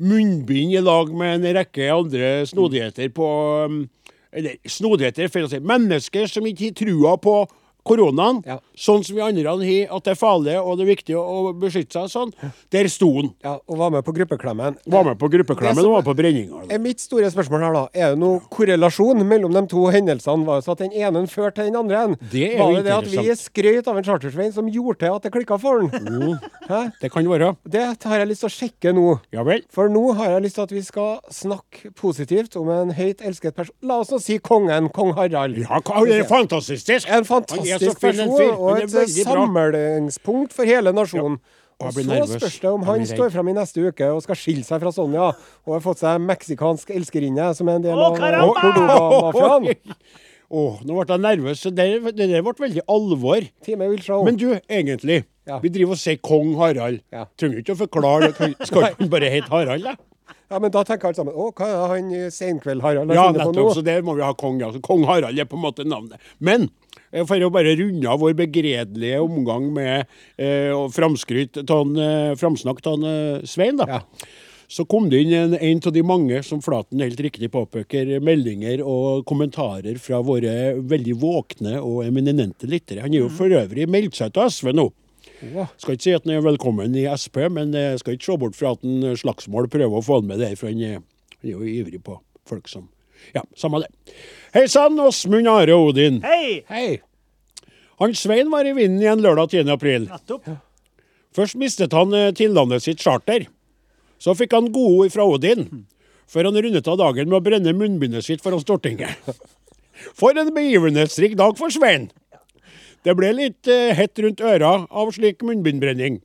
munnbind i lag med en rekke andre snodigheter på um, Eller snodigheter, for å si. Mennesker som ikke har trua på koronaen, Ja. sånn som vi andre har, at det er farlig og det er viktig å beskytte seg sånn. Der sto han. ja. Og var med på gruppeklemmen. Var med på gruppeklemmen Det som- og var på altså. brenninga. Eh, Mitt store spørsmål her da, er det noe korrelasjon mellom de to hendelsene? Var det så at den ene førte til den andre? en? Det er jo var det det at vi interessant. skrøt av en chartersvein som gjorde til at det klikka for den? Hæ? Det kan være. Det har jeg lyst til å sjekke nå. Ja vel. For nå har jeg lyst til at vi skal snakke positivt om en høyt elsket person. La oss nå si kongen, kong Harald. Ja, han er fantastisk. Han er En så fantastisk fin, en person fyr. og Han er et veldig bra. samlingspunkt for hele nasjonen. Og Og jeg så blir nervøs. spørs det om Jeg han blir redd. står fram i neste uke og skal skille seg fra Sonja og har fått seg en meksikansk elskerinne som er en del Å, av caramba! [LAUGHS] Cordoba-mafiaen. Oi. Åh, nå ble jeg nervøs. så Det, det der ble veldig alvor. Time will show. Men du, egentlig. Ja. Vi driver og sier kong Harald. Ja. Trenger ikke å forklare det. Kan- Skal han bare hete Harald, da? ja, men da tenker alle sammen Å, hva er han eh, Senkveld Harald Ja, har funnet på nettopp. Så nå? der må vi ha kong. Altså. Kong Harald er på en måte navnet. Men eh, for å bare runde av vår begredelige omgang med eh, og framskryt av han, eh, framsnakk av han, eh, Svein, da. Ja. Så kom det inn en, en av de mange som Flaten helt riktig påpeker, meldinger og kommentarer fra våre veldig våkne og eminente lyttere. Han er jo for øvrig meldt seg til SV nå. Wow. Skal ikke si at han er velkommen i Sp, men eh, skal ikke se bort fra at han eh, Slagsmål prøver å få han med der, for han eh, han er jo ivrig på folk som Ja, samme det. Hei sann, Åsmund Are Odin. Hei! Hei! Han Svein var i vinden igjen lørdag 10. april. Nettopp. Først mistet han eh, tillandet sitt charter. Så fikk han godord fra Odin, før han rundet av dagen med å brenne munnbindet sitt foran Stortinget. [LAUGHS] For en begivenhetsrik dag for Svein! Det ble litt eh, hett rundt øra av slik munnbindbrenning.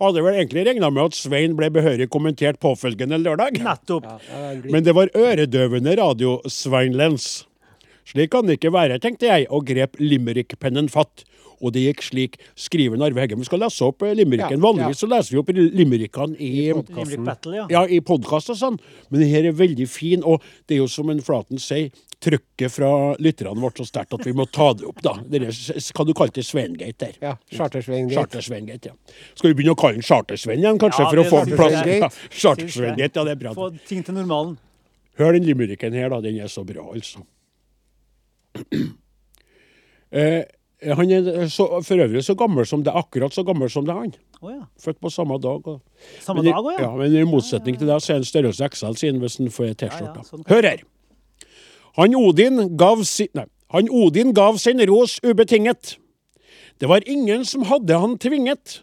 Hadde vel egentlig regna med at Svein ble behørig kommentert påfølgende lørdag. Nettopp. Men det var øredøvende radio-sveinlens. Slik kan det ikke være, tenkte jeg, og grep limerickpennen fatt. Og det gikk slik, skriver Narve Heggem. Vi skal lese opp eh, limericken. Ja, Vanligvis så leser vi opp limerickene i, Limerick Battle, ja. ja, i podkast og sånn, men den her er veldig fin. Og det er jo som en Flaten sier, trykket fra lytterne ble så sterkt at vi må ta det opp, da. Det er, s- kan du kalle det Sveingate der? Ja, Chartersveien Gate. Charter-Sveingate, ja. Skal vi begynne å kalle den Charter-Svein igjen, kanskje, Ja, for å det få er den plass? Charter-Svein. Ja, [LAUGHS] Charter-Sveingate, ja, det er bra. Få ting til normalen. Hør den limericken her, da. Den er så bra, altså. [CLEARS THROAT] eh, han er så, for øvrig så gammel som det, akkurat så gammel som det er han. Å ja. Født på samme dag. Og, Samme men i- dag òg, ja. ja. Men i motsetning til deg, så er han størrelse XL, siden hvis han får ei Ja, T-skjorte. ja, sånn kan Hør her! Han Odin gav si, Nei. Han Odin gav sin ros ubetinget. Det var ingen som hadde han tvinget.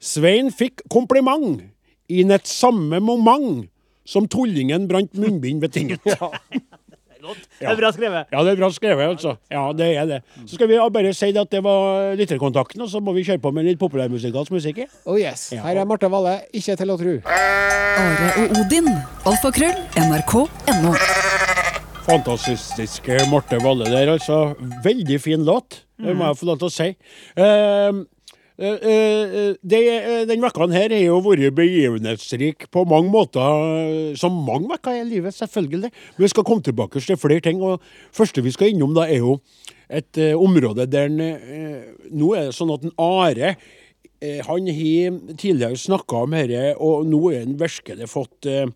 Svein fikk kompliment i nett samme moment som tullingen brant munnbind betinget. Det er bra skrevet. Ja, det er bra skrevet, altså. Ja, det er det. Så skal vi bare si det at det var lytterkontakten, og så må vi kjøre på med litt populærmusikalsk musikk. ja. Oh yes. Her er Marte Valle, ikke til å tru. Are og Odin. Alfakrøll. NRK.no. Fantastiske Marte Valle der, altså. Veldig fin låt, det må jeg få lov til å si. Ehm, eh, eh, det, eh, den vekka her har jo vært begivenhetsrik på mange måter, eh, som mange vekker i livet, selvfølgelig. Men vi skal komme tilbake til flere ting. og første vi skal innom, da, er jo et eh, område der en, eh, Nå er det sånn at en Are eh, han har tidligere snakka om dette, og nå er han virkelig fått eh,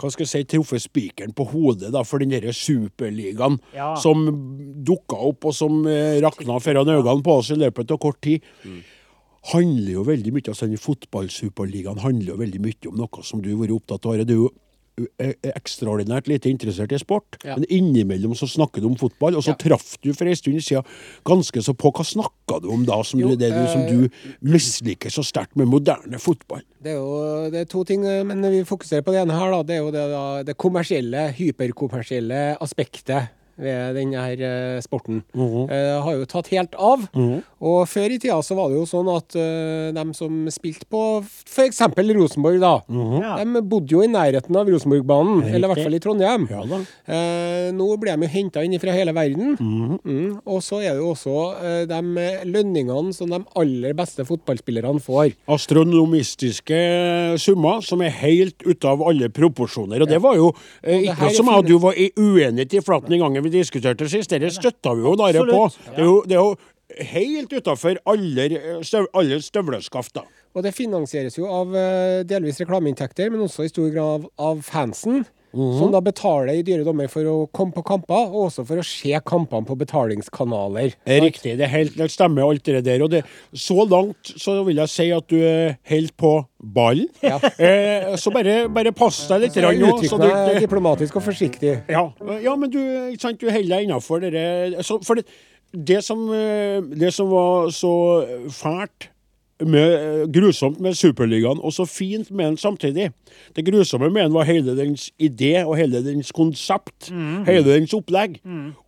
hva skal jeg si, truffet spikeren på hodet da, for den derre superligaen Ja. som dukka opp, og som eh, rakna foran øynene på oss i løpet av kort tid. handler jo veldig mye, altså Denne fotballsuperligaen handler jo veldig mye om noe som du har vært opptatt av. Are. Du er jo eh, ekstraordinært lite interessert i sport, Ja. men innimellom så snakker du om fotball. Og så traff du for en stund siden ganske så på. Hva snakka du om da, som, Jo, det du, som du misliker så sterkt med moderne fotball? Det er jo det er to ting, eh, men vi fokuserer på det ene her. Da. Det er jo det, da, det kommersielle, hyperkommersielle aspektet ved denne her eh, sporten. Mhm. Eh, har jo tatt helt av. Og før i tida så var det jo sånn at eh, dem som spilte på f.eks. Rosenborg, da. Mhm. Ja. De bodde jo i nærheten av Rosenborgbanen, eller i hvert fall i Trondheim. Ja da. Eh, nå blir de jo henta inn fra hele verden. Mhm. Mm. Og så er det jo også eh, de lønningene som de aller beste fotballspillerne får. astronomistiske summer som er helt ute av alle proporsjoner. Og det var jo eh, det ikke her noe er som fine- jeg og du var i uenighet i flaten den gangen vi diskuterte sist. Dette støtta vi jo Nare på. Absolutt. Det er jo, det er jo helt utafor alle, eh, støv, alle støvleskaft, da. Og det finansieres jo av eh, delvis reklameinntekter, men også i stor grad av, av fansen. Mhm. Som da betaler i dyre dommer for å komme på kamper, og også for å se kampene på betalingskanaler. Det er Riktig. Det, er helt, det stemmer alt det der. Og det, så langt så vil jeg si at du er helt på ballen. [LAUGHS] Eh, så bare, bare pass deg litt Jeg grann nå. så du uttrykker meg ikke- diplomatisk og forsiktig. Ja, ja men du, ikke sant, du holder deg innafor dere så, For det, det, som, eh, det som var så fælt med, eh, grusomt med Superligaen, og så fint med den samtidig. Det grusomme med den var hele dens idé og hele dens konsept. Mm. Hele dens opplegg.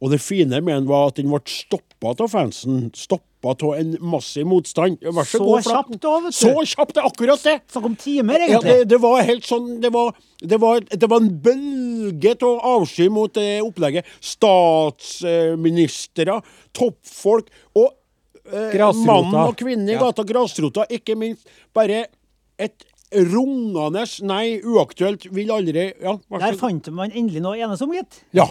Og det fine med den var at den ble stoppa av fansen. Stoppa toppa av en massiv motstand. Vær så, Så god. Flaten. kjapt da, vet du. Så kjapt, det er akkurat det! Snakk om timer, Ja, egentlig. det, det var helt sånn Det var, det var, det var en bølge av avsky mot det opplegget. Statsministre, toppfolk og eh, Grasrota. mann og kvinne i Ja. gata, grasrota, ikke minst. Bare et rungende Nei, uaktuelt. Vil aldri Ja, vær så Der fant man endelig noe å enes om, gitt. ja.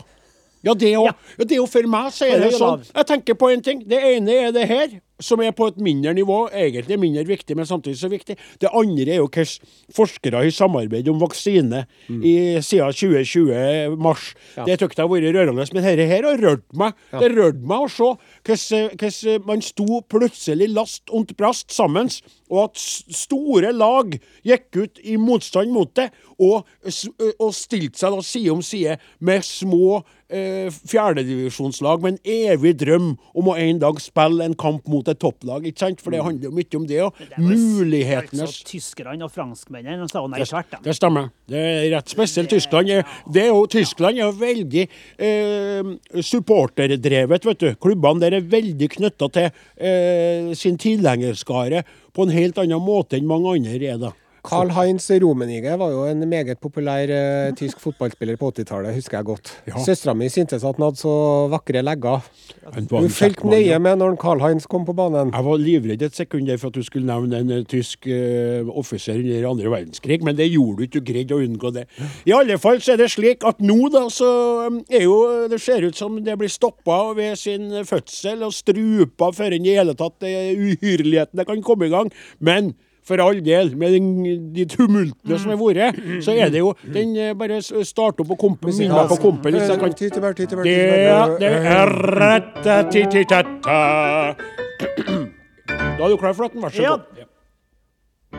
Ja, det er jo, Ja. ja, det er jo for meg så er For det høy og sånn. lav. Jeg tenker på en ting. Det ene er det her, som er på et mindre nivå. Egentlig mindre viktig, men samtidig så viktig. Det andre er jo hvordan forskere har samarbeidet om vaksine Mm. i, siden 2020 mars. Det syns jeg har vært rørende. Men dette her har rørt meg. Det rørte meg å se hvordan- eh, hvordan man sto plutselig last og brast sammen, og at s- store lag gikk ut i motstand mot det, og, s- og stilte seg da side om side med små eh, fjerdedivisjonslag med en evig drøm om å en dag spille en kamp mot et topplag, ikke sant? For det handler jo mye om Mm. det, og mulighetenes Altså, tyskerne og franskmennene de sa jo nei det, tvert, de. det stemmer. Det er rett spesielt. Tyskland er, det er jo, Tyskland er jo veldig eh, supporterdrevet, vet du. Klubbene der er veldig knytta til eh, sin tilhengerskare på en helt annen måte enn mange andre er, da. Carl Heinz Rummenigge var jo en meget populær eh, tysk fotballspiller på 80-tallet, husker jeg godt. Søstera mi syntes at han hadde så vakre legger. Han var en Hun kjekk fulgte mann, ja. nøye med når Carl Heinz kom på banen. Jeg var livredd et sekund der for at du skulle nevne en eh, tysk eh, offiser under andre verdenskrig, men det gjorde du ikke. Du greide å unngå det. I alle fall så er det slik at nå, da, så eh, er jo Det ser ut som det blir stoppa ved sin fødsel og strupa før enn i hele tatt eh, uhyrlighetene kan komme i gang. Men for all del, med den, de tumultene som har vært, så er det jo den eh, Bare s- start opp og kompe, minn meg på kompen hvis jeg kan. Tyttebær, tyttebær, Det er, tyttebær. det er ratatititata. [CLEARS THROAT] Da er du klar for at den, vær så Ja. god. Ja.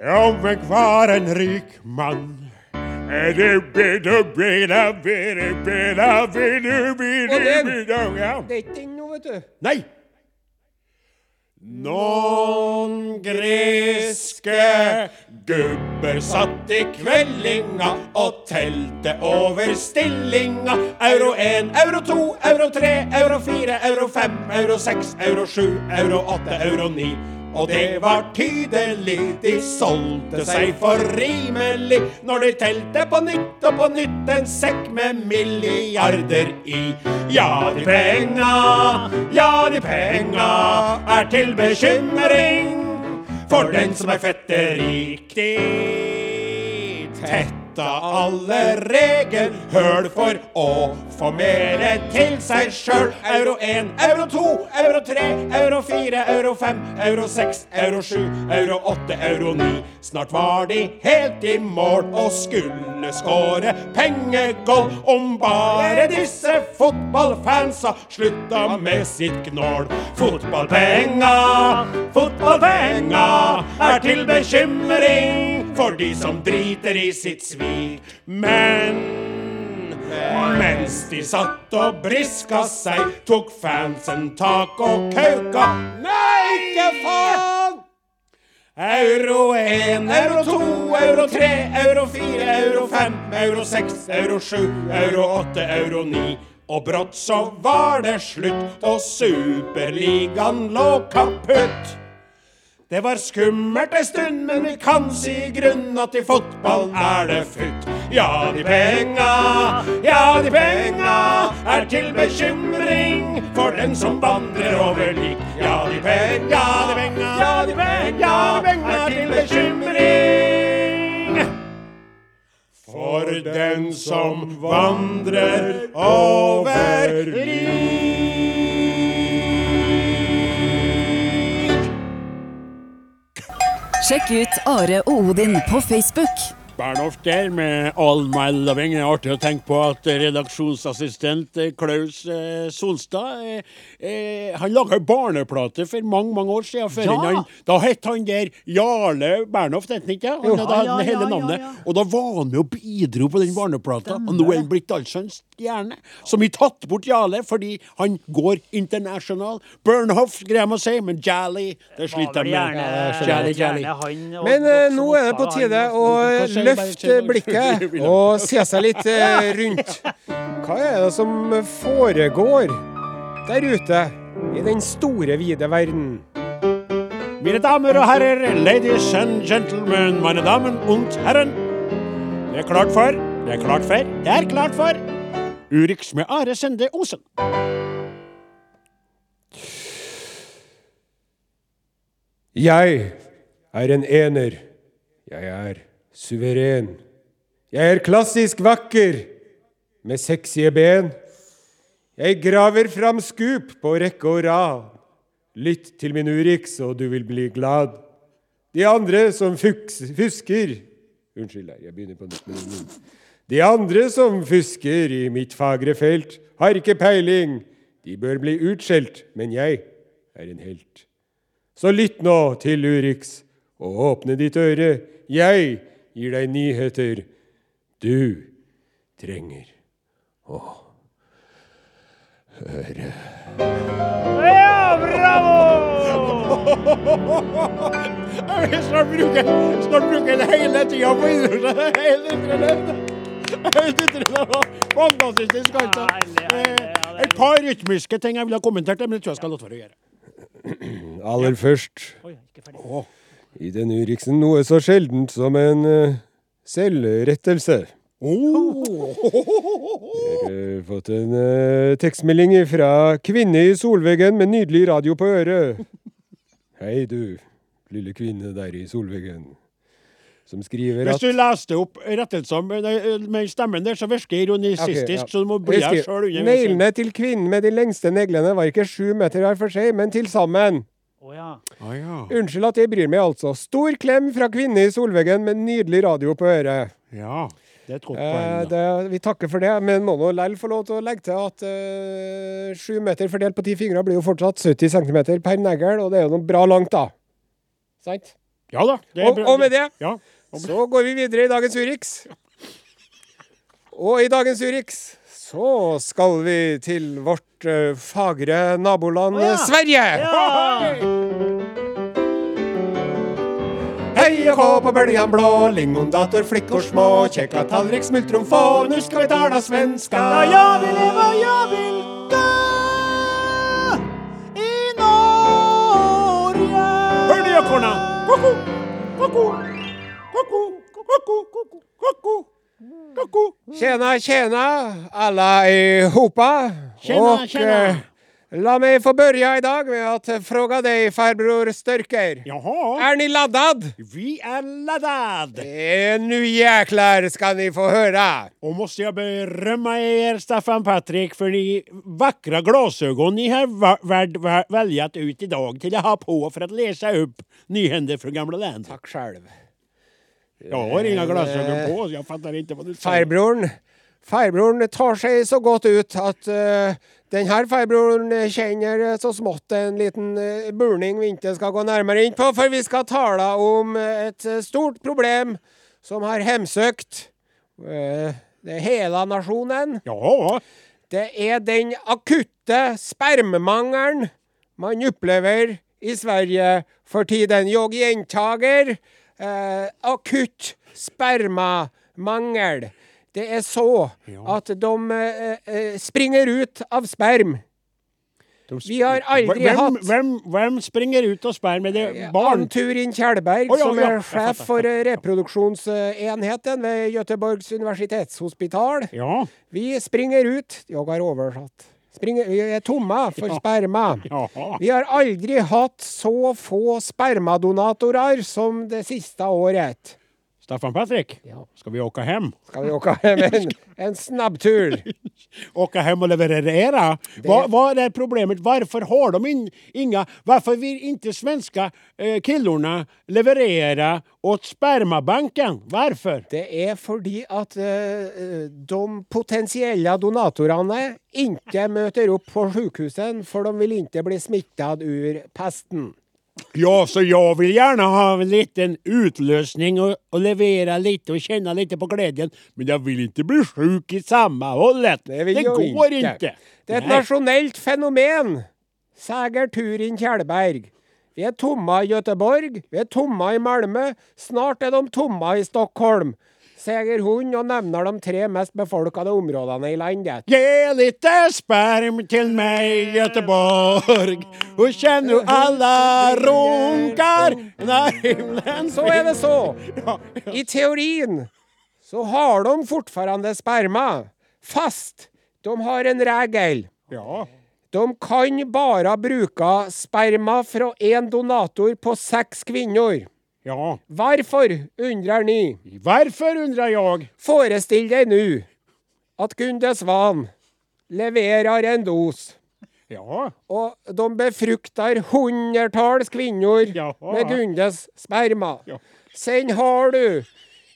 Om jeg var en rik mann Det er ikke den nå, vet du. Nei! Noen greske gubber satt i kveldinga og telte over stillinga. Euro 1, euro 2, euro 3, euro 4, euro 5, euro 6, euro 7, euro 8, euro 9. Og det var tydelig, de solgte seg for rimelig når de telte på nytt og på nytt en sekk med milliarder i. Ja, de penga, ja, de penga er til bekymring for den som er fetterik. De tetta alle regelhøl for å få mere til seg sjøl. Euro 1, euro 2, euro 3, euro 4, euro 5, euro 6, euro 7, euro 8, euro 9. Snart var de helt i mål og skulle skåre pengegold om bare disse fotballfansa slutta med sitt gnål. Fotballpenga, fotballpenga er til bekymring for de som driter i sitt svik. Men mens de satt og briska seg, tok fansen tak og kauka. Nei, ikke faen! Euro 1, euro 2, euro 3, euro 4, euro 5, euro 6, euro 7, euro 8, euro 9. Og brått så var det slutt, og Superligaen lå kaputt. Det var skummelt ei stund, men vi kan si i grunn at i fotball er det futt. Ja, de penga, ja, de penga er til bekymring for den som vandrer over lik. Ja, de penga, ja, de penga, ja, de penga er til bekymring for den som vandrer over lik. Sjekk ut Are og Odin på Facebook. Bernhoft der med All My Loving. Det er artig å tenke på at redaksjonsassistent eh, Klaus eh, Solstad eh, eh, Han laga barneplate for mange mange år siden. før Ja. han, da het han der Jarle Bernhoft, het han ikke? Han hadde Ja, ja, hatt hele ja, ja, navnet. ja. Og da var han med og bidro på den barneplata. Og nå er han blitt altså en stjerne. Som har tatt bort Jarle fordi han går international. Bernhoft greier man å si, men Jally, det Var sliter vel han med. gjerne, Jally, Jally. gjerne han og Men eh, som nå er det på oppdaget han tide også. å Hva sier du? Løft eh, blikket og se seg litt eh, rundt. Hva er det som foregår der ute i den store, vide verden? Mine damer og herrer, ladies and gentlemen, meine damen und herren. Det er klart for, det er klart for, det er klart for Urix med Are Sende Osen. Jeg er en ener. Jeg er suveren. Jeg er klassisk vakker med sexy ben. Jeg graver fram skup på rekke og rad. Lytt til min Urix, og du vil bli glad. De andre som fuks, fusker Unnskyld, nei, jeg begynner på nytt. med den. De andre som fusker i mitt fagre felt, har ikke peiling. De bør bli utskjelt, men jeg er en helt. Så lytt nå til Urix, og åpne ditt øre. Jeg gir deg nyheter du trenger å høre. Ja, bravo! Jeg vil snart bruke, snart bruke det hele tida på idretten. Helt utrelevd. Helt utrelevd. Fantastisk. Altså. Herlig, herlig, ja, det er Et par rytmiske ting jeg ville ha kommentert, men det tror jeg skal la være å gjøre. Aller først, Oi, ikke ferdig. i denne Urixen, noe så sjeldent som en eh, selvrettelse. Jeg har fått en eh, tekstmelding fra kvinne i solveggen med nydelig radio på øret. Hei du, lille kvinne der i solveggen. Som skriver Hvis at du leste opp rettelser med, med stemmen der, så virker det ironisistisk, Ok, ja. så du må bli Jeg her skriver, sjøl under. Neglene til kvinnen med de lengste neglene var ikke sju meter hver for seg, men til sammen. Å ja. Ah, ja. Unnskyld at jeg bryr meg, altså. Stor klem fra kvinne i solveggen med nydelig radio på øret. ja. Det er et godt Eh, poeng. da. det, vi takker for det, men må nå lell få lov til å legge til at eh, sju meter fordelt på ti fingre blir jo fortsatt 70 cm per negl, og det er jo noe bra langt, da. Sant? Ja da. det er Og, bra. og med det Ja. så går vi videre i dagens Urix. Og i dagens Urix så skal vi til vårt eh, fagre naboland Å ja. Sverige. Ja. Hei og hå på bøljan blå, lingondator, flickor små, kjekka tallrik, smultron få, nu skal vi tala svenska. Ja, jag vill leva, jag vill dö i Norge. Hør du, ekorna? Ko-ko, ko-ko, ko-ko, ko-ko, ko-ko, ko-ko, ko-ko. Tjena, tjena, alla i hopa. Tjena, och, tjena. Eh, la mig få börja idag med att eh, fråga dig, farbror Störker. Jaha. Är ni laddad? Vi er laddad. Eh, nu jäklar ska ni få höra. Og måste jag berömma er, Staffan Patrik, för de vackra glasögon ni har va- värd- va- väljat ut idag till att ha på för att läsa upp nyhänder från gamla länder. Tack själv. Jag har inga glasögon på, så jag fattar inte vad du säger. Farbroren, farbroren tar seg så godt ut at eh, den her farbroren kjenner eh, så smått en liten eh, burning vi ikke skal gå nærmere inn på, for vi skal tale om eh, et eh, stort problem som har hemsøkt eh, det hele nasjonen. Ja, Det er den akutte spermemangelen man opplever i Sverige for tiden. Jeg gjentager eh, akutt spermamangel. Det er så at de eh, eh, springer ut av sperm. Vi har aldri vem, hatt Vem, vem springer ut och spär med det? Ann barn? Turin Kjellberg, Å, ja, som ja, er jeg sjef fatter. for eh, reproduksjonsenheten ved Göteborgs universitetshosspital. Ja, Vi springer ut Jeg har oversatt. Springer, vi er tomme for Ja. sperma. jaha. [LAUGHS] Vi har aldri hatt så få spermadonatorer som det siste året. Staffan Patrik, Ja. ska vi åka hem? Skal vi åka hjem en, en snabbtur? åka hem och leverera. Vad, vad är problemet? Varför har de in, inga... Varför vill inte svenska eh, killorna leverera åt spermabanken? Varför? Det er fordi at eh, eh, de potensielle donatorene ikke møter opp på sykehuset, for de vil ikke bli smittet ur pesten. Ja, så jag vill gärna ha en liten utlösning och, och leverera lite och känna lite på glädjen. Men jag vill inte bli sjuk i samma hållet. Det vil jo går ikke. inte. Det er et Nej. nasjonelt fenomen, sier Turin Kjellberg. Vi er tomme i Göteborg, vi er tomme i Malmö, snart er de tomme i Stockholm. Segerhund og nevner de tre mest befolkede områdene i landet. Gi litt sperm til meg, Göteborg. Og kjenn jo alle runkar når himmelen Så er det så. Ja, ja. I teorien så har de fortfarande sperma. Fast de har en regel. ja. De kan bare bruke sperma fra én donator på seks kvinner. ja. Hvorfor, undrer ni. Hvorfor, undrer jeg. Forestill deg nå at Gunde Svan leverer en dos, Ja. og de befrukter hundretalls kvinner Ja. med Gundes sperma. Ja. Sen har du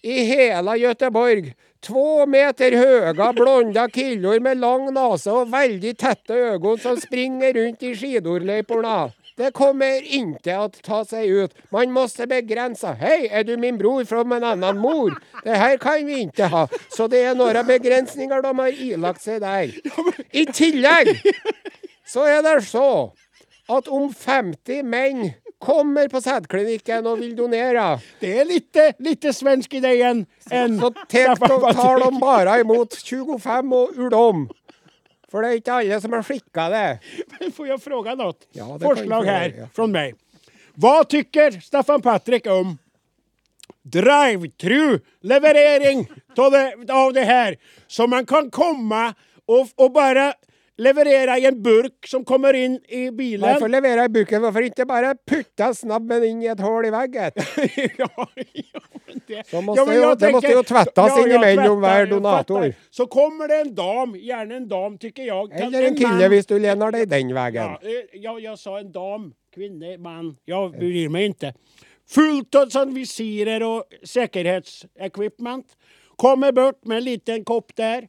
i hele Göteborg två meter høye blonde kilder med lang nese og veldig tette øyne som springer rundt i skidorløypene. Det kommer ikke å ta seg ut. Man måtte begrense. Hei, er du min bror fra en annen mor? Det her kan vi ikke ha. Så det er noen begrensninger de har ilagt seg der. I tillegg så er det så at om 50 menn kommer på sædklinikken og vil donere Det er litt, eh, litt svensk i deg igjen. enn- så tek de, tar de bare imot 25 og uldom. For det er ikke alle som har skikka det. Får jeg fråga något? Ja, det kan Forslag du fråga, här ja. från mig. Vad tycker Staffan Patrik om drive-through leverering av det, av det här? Så man kan komma och, och bara leverera i en burk som kommer in i bilen. [LAUGHS] Hvorfor leverer jeg buken? Hvorfor ikke bare putte snabben inn i et hull i veggen? ja, ja, men det, Så måste ju- det måste ju tvättas in emellan tvättar, varje jag donator. tvättar. Så kommer det en dam, gärna en dam tycker jag. Kan Eller en kille man- hvis du lener deg den veien. Ja, eh, ja, jag sa en dam, kvinna, man. Jag bryr mig inte. Fullt av sån visirer och säkerhetsequipment. Kommer bort med en liten kopp där.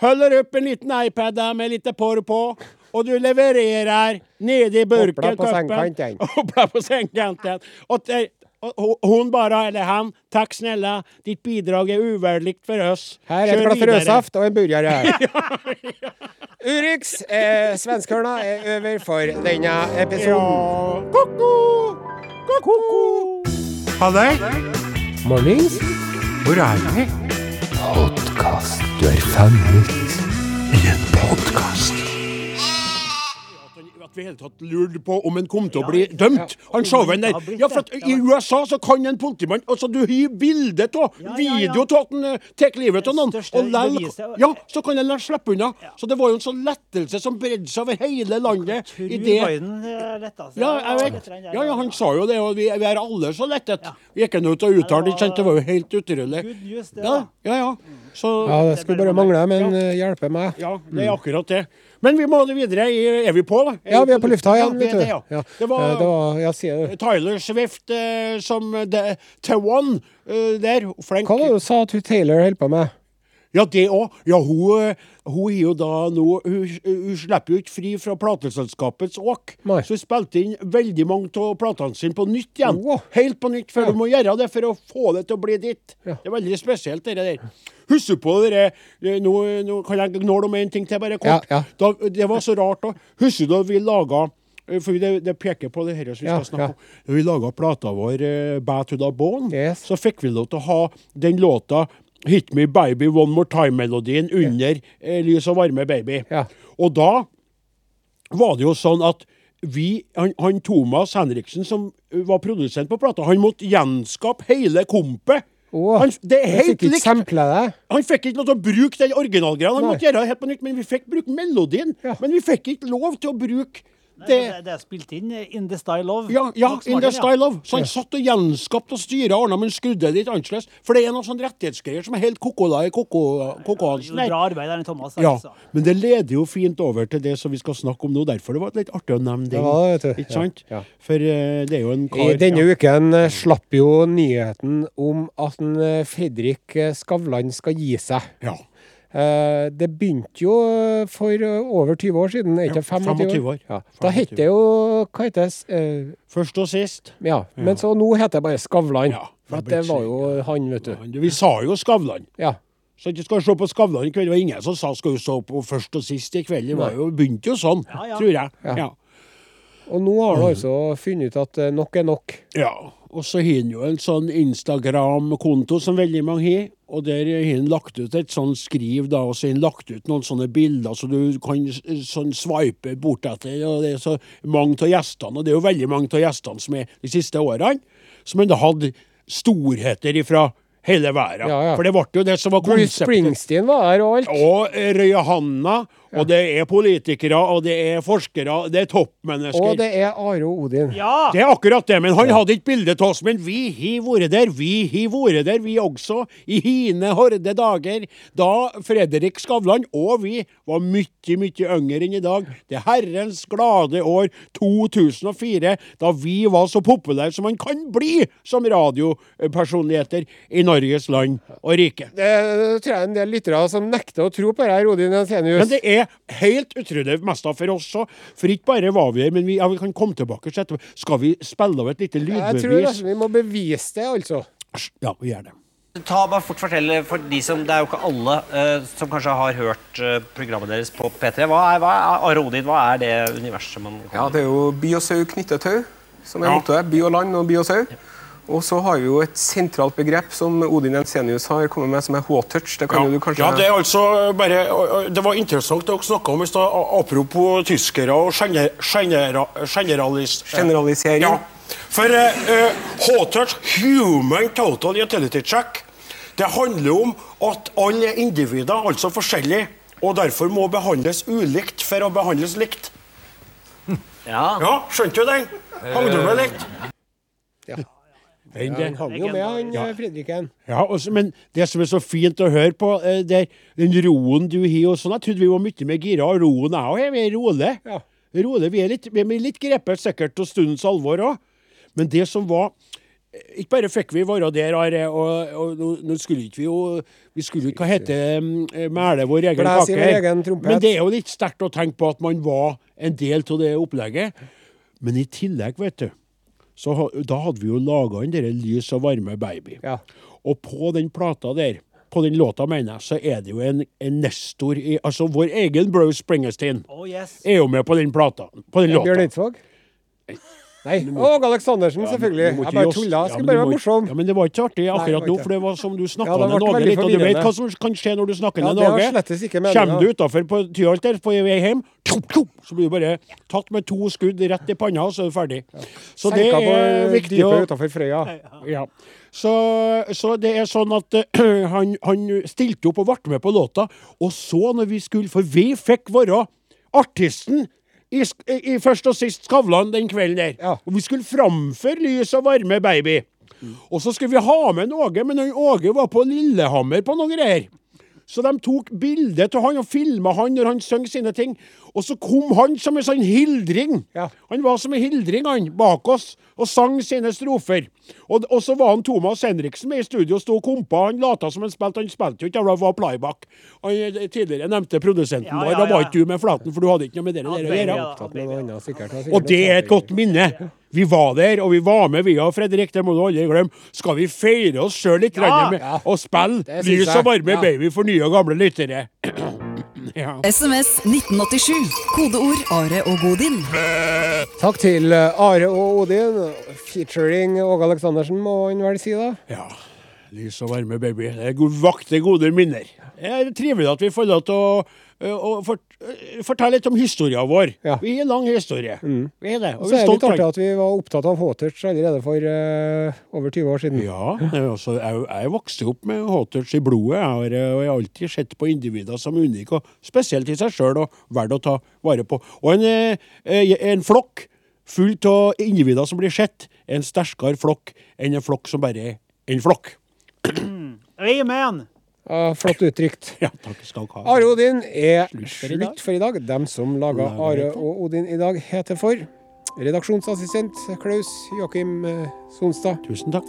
Håller upp en liten iPad där med lite porr på. Och du levererar ned i burken. Hoppla på koppen. [LAUGHS] sängkanten. Hoppla på sängkanten. Och, eh, och ho- hon bara, eller han, tack snälla, ditt bidrag är ovärderligt för oss. Her er Kör et glass vidare." rødsaft og en burger. [LAUGHS] Urix, eh, svenskørna, er over for denne episoden. Ja. Koko! Koko! Halløy! Mornings. Hvor er vi? Podkast. Du er fanget i en podkast. At vi i hele tatt lurte på om en kom til å bli dømt. Han sa vel der. Ja, for at I USA så kan en politimann altså du har bilde av, ja, ja. video av at han eh, tar livet av noen, Det største og lell, beviset. ja, så kan en la slippe unna. Så det var jo en sånn lettelse som bredde seg over hele landet. Tror I det, Biden eh, letta seg. ja, jeg vet. ja, ja, han sa jo det, og vi, vi er alle så lettet. Vi gikk han ut og uttalte, ikke sant? Det var jo helt utrolig. Good news, det, Ja, da. ja. ja. Så Ja, det skulle bare mangle, men eh, hjelpe meg. Ja, det er akkurat det. Men vi må videre. i- Er vi på, da? Mm. Ja, vi er på lufta igjen, vi er vet du. det, ja. Ja. Det var, Eh, det var Ja, sier du. Tyler Swift eh, som The Tawan eh, der. Flank. Hva var det du sa at hun Taylor holdt på med? Ja, det òg. Ja, hun eh, hun er jo da nå Hun, hun slipper jo ikke fri fra plateselskapets åk. Nei. Så hun spilte inn veldig mange av platene sine på nytt igjen. Åh. Helt på nytt, for hun må gjøre det for å få det til å bli ditt. Ja. Det er veldig spesielt, det der. Husker du på det der eh, Nå, nå kan jeg gnåle om en ting til, bare kort. Ja, ja. Da, det var så rart òg. Husker du da vi laga eh, for det, det peker på det her som vi Ja, skal snakke om. Da vi laga plata vår eh, 'Bad to the Bone', Yes. så fikk vi lov til å ha den låta 'Hit Me Baby One More Time'-melodien under eh, 'Lys og varme baby'. Ja. Og da var det jo sånn at vi, han, han Thomas Henriksen, som eh, var produsent på plata, han måtte gjenskape hele kompet. Åh, han, det er jeg helt fikk ikke likt. sampla det. Han fikk ikke lov til å bruke den originalgreia. Han Nei. måtte gjøre det helt på nytt, men vi fikk bruke melodien. Ja. Men vi fikk ikke lov til å bruke Nei, det. men det, det er spilt inn eh, In the Style of. Ja, ja, Max in the Martin, ja. style of. Så han satt og gjenskapte og styra ordna, men skrudde det litt annerledes. For det er noen sånne rettighetsgreier som er helt kokola i koko- Jo, kokohansen der. Bra arbeid der, Thomas. Ja, altså. men det leder jo fint over til det som vi skal snakke om nå. Derfor det var litt artig å nevne den. Det var det, vet du. Ikke sant? Ja, ja. For eh, det er jo en I kar denne ja. uken eh, slapp jo nyheten om at en, eh, Fredrik eh, Skavlan skal gi seg. Ja. Eh, Det begynte jo eh, for eh, over 20 år siden, er Ja, ikke det 25 25 år. år? Ja. Da 25. het det jo Hva heter det? s- eh, Først og sist. Ja. Men så nå heter det bare Skavlan. Ja, For at det det blir var jo han, vet du. Vi sa jo Skavlan. Ja. Så ikke skal se på Skavlan i kveld. Det var ingen som sa skal du se på først og sist i kveld. Det var jo, begynte jo sånn, Ja, ja. tror jeg. Ja. Ja. Og nå har Mm. han altså funnet ut at eh, nok er nok. Ja. Og så har han jo en sånn Instagram-konto som veldig mange har. Og der har han lagt ut et sånn skriv, da, og så har han lagt ut noen sånne bilder så du kan s- sånn sveipe bortetter. Og det er så mange av gjestene, og det er jo veldig mange av gjestene som er de siste årene, som han da hadde storheter ifra hele verden. Ja, ja. For det ble jo det som var Bruce konseptet. Springsteen var her og alt. Og Røyahanna, og det er politikere, og det er forskere, det er toppmennesker. Og det er Are Odin. Ja! [LAUGHS] Det er akkurat det, men han hadde ikke bilde av oss. Men vi har vært der, vi har vært der, vi også. I hine horde dager. Da Fredrik Skavlan og vi var mye, mye yngre enn i dag. Det herrens glade år 2004, da vi var så populære som man kan bli som radiopersonligheter i Norges land og rike. Det det tror jeg er en del lyttere som nekter å tro på det her, Odin Men Jensenius. det er helt utrolig mest av for oss òg. For ikke bare var vi her, men vi ja, vi kan komme tilbake så etterpå. Skal vi spille av et lite Jeg tror lydbevis? nesten vi må bevise det, altså. Ja, vi gjør det. Ta bare fort fortelle, for de som, Det er jo ikke alle eh, som kanskje har hørt eh, programmet deres på P3. Hva er, hva er Are Odin? Hva er det universet man Ja, det er jo by og sau knyttetau, som er mottoet. By og land og by og sau. Og så har vi jo et sentralt begrep som Odin Jensenius har kommet med, som er H-touch. Det kan jo du kanskje ja, det er altså bare Det var interessant det dere snakka om i stad, apropos tyskere og gener, genera, generalis... generalisering. Ja. For eh, eh, H-touch, human total utility check, det handler om at alle er individer, altså forskjellige, og derfor må behandles ulikt for å behandles likt. Ja. Ja, skjønte du den? Hang du med litt? Men det- Han hang jo med, han eh, Fredriken. Ja, og så- men det som er så fint å høre på, eh, det er den roen du har og sånn. Jeg trodde vi var mye mer gira, og roen jeg òg har. Vi er rolig. Ja. Rolig, Vi er litt, vi er litt grepet sikkert av stundens alvor òg. Men det som var eh, ikke bare fikk vi være der, Are, og, og nå- nå skulle ikke vi jo Vi skulle jo ikke hva heter mm, mæle vår egen Blæs i kake. vår egen trompet. Men det er jo litt sterkt å tenke på at man var en del av det opplegget. Men i tillegg, vet du, så ha- da hadde vi jo laga den derre Lys og varme baby. Ja. Og på den plata der, på den låta, mener jeg, så er det jo en, en nestor i Altså vår egen Bruce Springsteen Oh yes. er jo med på den plata. På den låta. Bjørn Eidsvåg? Nei. Åge Aleksandersen, selvfølgelig. Du må Jeg ikke gi bare oss- tulla. Ja, men Skulle du bare må ikke- være morsom. Ja, Men det var ikke artig Nei, det akkurat var nå, ikke for det var som du Ja, snakka det ned ble Åge veldig litt, og du vet forvirrende. hva som kan skje når du snakker Ja, ned det var Åge. slettes ikke meningen. Kommer du utafor på Tyholt der, på vei hjem, tjopp, tjopp, så blir du bare tatt med to skudd rett i panna, og så er du ferdig. Så det Senka på er viktig å dypet utenfor Frøya. ja. Så, så det er sånn at [CLEARS THROAT] eh, han, han stilte opp og ble med på låta, og så når vi skulle For vi fikk være artisten i, sk- i først og sist Skavlan den kvelden der. Ja. Og vi skulle framføre Lys og varme baby. Og så skulle vi ha med en Åge, men han Åge var på Lillehammer på noe greier. Så de tok bilde av han og filma han når han sang sine ting. Og så kom han som en sånn hildring. Ja. Han var som en hildring, han, bak oss, og sang sine strofer. Og, og så var han Thomas Henriksen med i studio og sto og kompa. Han lata som han spilte, han spilte jo ikke, det var Playback. Han eh, tidligere nevnte produsenten Ja, vår. ja, Da var ja. ikke du med Flaten, for du hadde ikke noe med det der å baby, gjøre. ja, Tatt med noe annet, sikkert. Han har sikkert Og det er et godt minne. Vi var der, og vi var med, vi og Fredrik. Det må du aldri glemme. Skal vi feire oss sjøl litt grann med Ja. å spille Det synes Lys og jeg. varme Ja. baby for nye og gamle lyttere? [CLEARS THROAT] ja. SMS 1987. Kodeord Are og Odin. Takk til eh, Are og Odin, featuring Åge Aleksandersen, må han vel si da. ja. Lys og varme baby. Det er god- vakte gode minner. Det er trivelig at vi får lov til å, å, å fort, fortelle litt om historien vår. Ja. Mm. Vi har en lang historie. Vi er det. Og Og så vi er er det litt stolt av artig den. at vi var opptatt av H-touch allerede for eh, over 20 år siden. Ja, det er også, jeg, jeg vokste opp med H-touch i blodet, jeg har, eh, og jeg har alltid sett på individer som unike, og spesielt i seg sjøl, og verdt å ta vare på. Og en, eh, eh, en flokk full av individer som blir sett, er en sterkere flokk enn en flokk som bare er en flokk. Amen. Ja, flott uttrykt. Ja, takk skal du ha. Are og Odin er for i dag. slutt for i dag. Dem som laga Are og Odin i dag, heter for redaksjonsassistent Klaus Joakim eh, Sonstad. Tusen takk.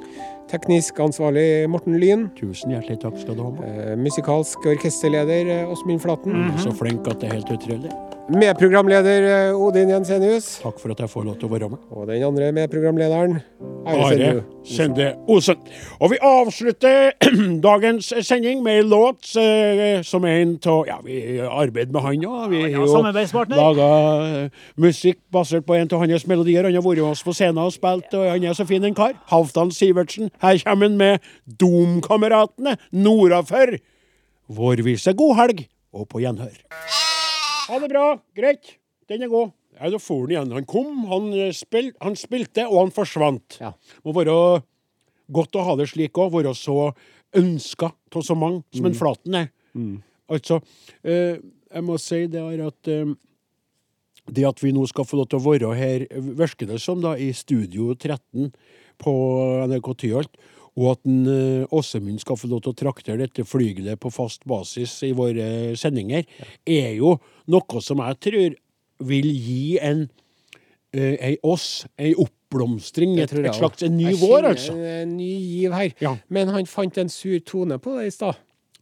Teknisk ansvarlig Morten Lyn. Tusen hjertelig takk skal du ha. Morten. Mm. Eh, musikalsk orkesterleder eh, Åsmund Flaten. Så flink at det er helt utrolig. Medprogramleder eh, Odin Jensenius. Takk for at jeg får lov til å være med. Og den andre medprogramlederen Are Are Senju. Sende Osen. Og vi avslutter [CLEARS THROAT] dagens sending med en låt eh, som er en av Ja, vi arbeider med han òg. Vi Ja, har jo samarbeidspartner. laga eh, musikk basert på en av hans melodier. Han har vært med oss på scenen og spilt, og han er så fin en kar. Halvdan Sivertsen. Her kommer han med Domkameratene nordafor. Vårvise god helg, og på gjenhør. Ha det bra. Greit. Den er god. Ja, da for han igjen. Han kom, han, eh, spil, han spilte, og han forsvant. Ja. Må være godt å ha det slik òg. Være så ønska av så mange som Mm. en Flaten er. Altså, eh, jeg må si det er at eh, det at vi nå skal få lov til å være her, virker det som, da, i Studio 13 på NRK Tyholt, og at en, eh, Åsemund skal få lov til å traktere dette flygelet på fast basis i våre sendinger, er jo noe som jeg tror vil gi en eh, ei oss, ei oppblomstring, Det et, tror jeg et slags en ny Jeg vår, kjenner altså. en- En ny giv her. Ja. Men han fant en sur tone på det i stad.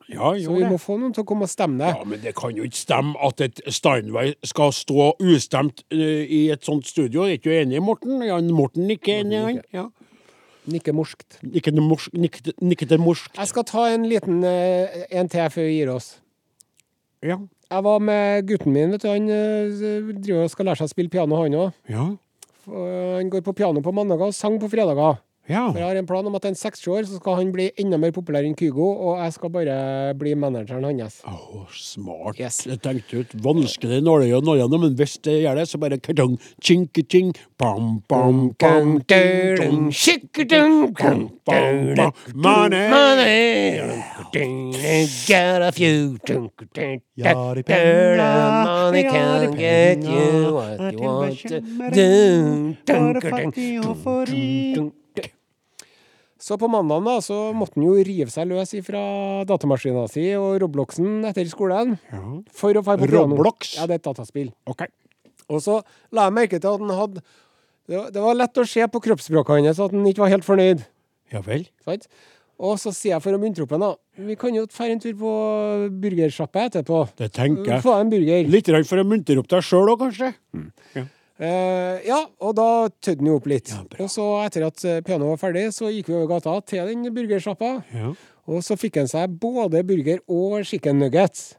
Ja, Så jo, vi det. må få noen til å komme og stemme det. Ja, men det kan jo ikke stemme at et Steinway skal stå ustemt eh, i et sånt studio. Er ikke du enig, Morten? Ja, Morten ikke enig, han. Ja. Nikke morskt. Nikket morsk, nikket, nikket morsk. Jeg skal ta en liten eh, en til før vi gir oss. Ja. Jeg var med gutten min, vet du. Han eh, driver og skal lære seg å spille piano, han òg. Ja. Han går på piano på mandager og sang på fredager. Ja. For jeg har en plan om at en seks år så skal han bli enda mer populær enn Kygo, og jeg skal bare bli manageren hans. Å, smart. Yes. Jeg tenkte ut vanskelig nåløy og nåløy, men hvis det gjør det, så bare kartong, tjinketing, pam, pam, pam, tjing, tjong, pam, pam, pam, money. Ja, det penger, det er penger, er til bekymring, bare fattig og for rik. Så på mandagen da, så måtte han jo rive seg løs fra datamaskina si og Robloxen etter skolen. For å dra på piano. Roblox? Ja, det er et dataspill. Ok. Og så la jeg merke til at han hadde Det var, det var lett å se på kroppsspråket hans at han ikke var helt fornøyd. Ja vel. Sant? Og så sier jeg for å muntre opp henne, da Vi kan jo dra en tur på burgersjappa etterpå. Det tenker jeg. Få deg en burger. Litt redd for å muntre opp deg sjøl òg, kanskje. Eh, ja, og da tødde han jo opp litt. bra. og så etter at eh, pianoet var ferdig, så gikk vi over gata til den burgersjappa. Ja. Og så fikk han seg både burger og chicken nuggets.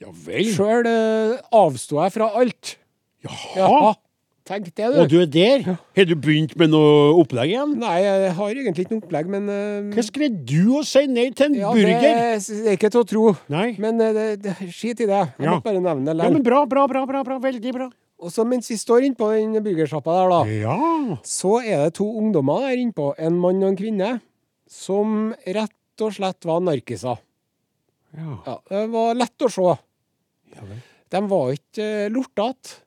Ja vel. Sjøl eh, avsto jeg fra alt. Jaha. Tenk det, du. Og du er der? Har du begynt med noe opplegg igjen? Nei, jeg har egentlig ikke noe opplegg, men eh, Hva skrev du å si nei til en ja, burger? Det er ikke til å tro. Nei. Men eh, det, det, skit i det. Jeg Ja. måtte bare nevne det Ja, likevel. men bra, bra, bra, bra, bra. Veldig bra. Og så mens vi står innpå den burgersjappa der, da, Ja. så er det to ungdommer der innpå, en mann og en kvinne, som rett og slett var narkiser. Ja. Ja, det var lett å se. De var ikke eh, lortete.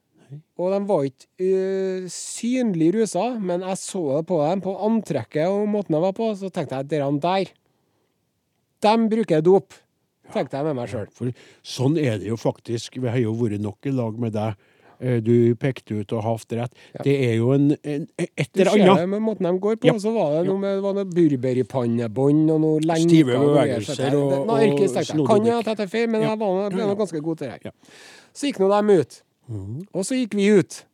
Og de var ikke eh, synlig rusa, men jeg så det på dem, på antrekket og måten de var på, så tenkte jeg at dere der, dem bruker dop. Tenkte jeg med meg sjøl. For sånn er det jo faktisk. Vi har jo vært nok i lag med deg. Eh, Du pekte ut og haft rett. Det er jo en, en et Du eller ser det annet. med måten de går på, Ja. og så var det noe med det var noe burberrypannebånd og noe lenker. Stive og noe bevegelser greier, så jeg- og- det- Nei, og ikke sterkt. Jeg snodig Kan jo blikk. ha tatt det feil, men Ja. jeg var nå- ble Ja, ja. nå ganske god til det Ja. her. Så gikk nå dem ut. Og så gikk vi ut.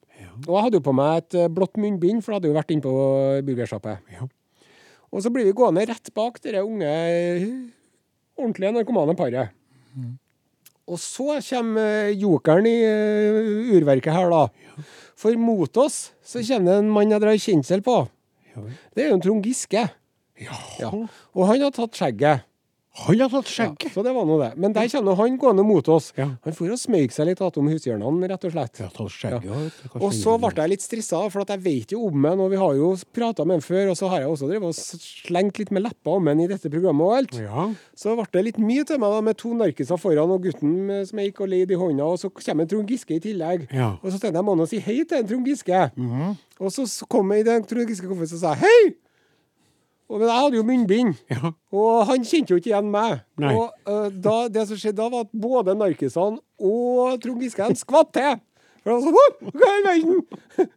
Og jeg hadde jo på meg et eh, blått munnbind, for jeg hadde jo vært inne på burgersjappet. Ja. Og så blir vi gående rett bak det unge, eh, ordentlige narkomane paret. Mm. Og så kommer eh, jokeren i eh, urverket her, da. For mot oss så kommer det en mann jeg drar kjensel på. Det er jo en Trond Giske. Ja. Og han har tatt skjegget. Han har tatt Ja, skjegget. så det var nå det. Men der kommer nå han gående mot oss. Ja. Han for og smøyk seg litt attom hushjørnene, rett og slett. Ja, tatt skjegget. Ja. ja, vet du, kanskje Og så ingen- ble jeg litt stressa, for at jeg vet jo om ham, og vi har jo prata med ham før, og så har jeg også drevet og s- slengt litt med leppa om ham i dette programmet og alt. Ja. Så ble det litt mye til meg, da, med to narkiser foran og gutten med- som jeg gikk og leide i hånda, og så kommer en Trond Giske i tillegg. Ja. Mhm. Og så tenkte jeg jeg må nå si hei til en Trond Giske. Og så s- kom jeg i den Trond Giske kom og så sa jeg, hei! Og, men jeg hadde jo munnbind, Ja. og han kjente jo ikke igjen meg. Nei. Og eh, da, det som skjedde da, var at både narkisene og Trond Giske han skvatt til. For det var sånn «Åh, Hva i all verden?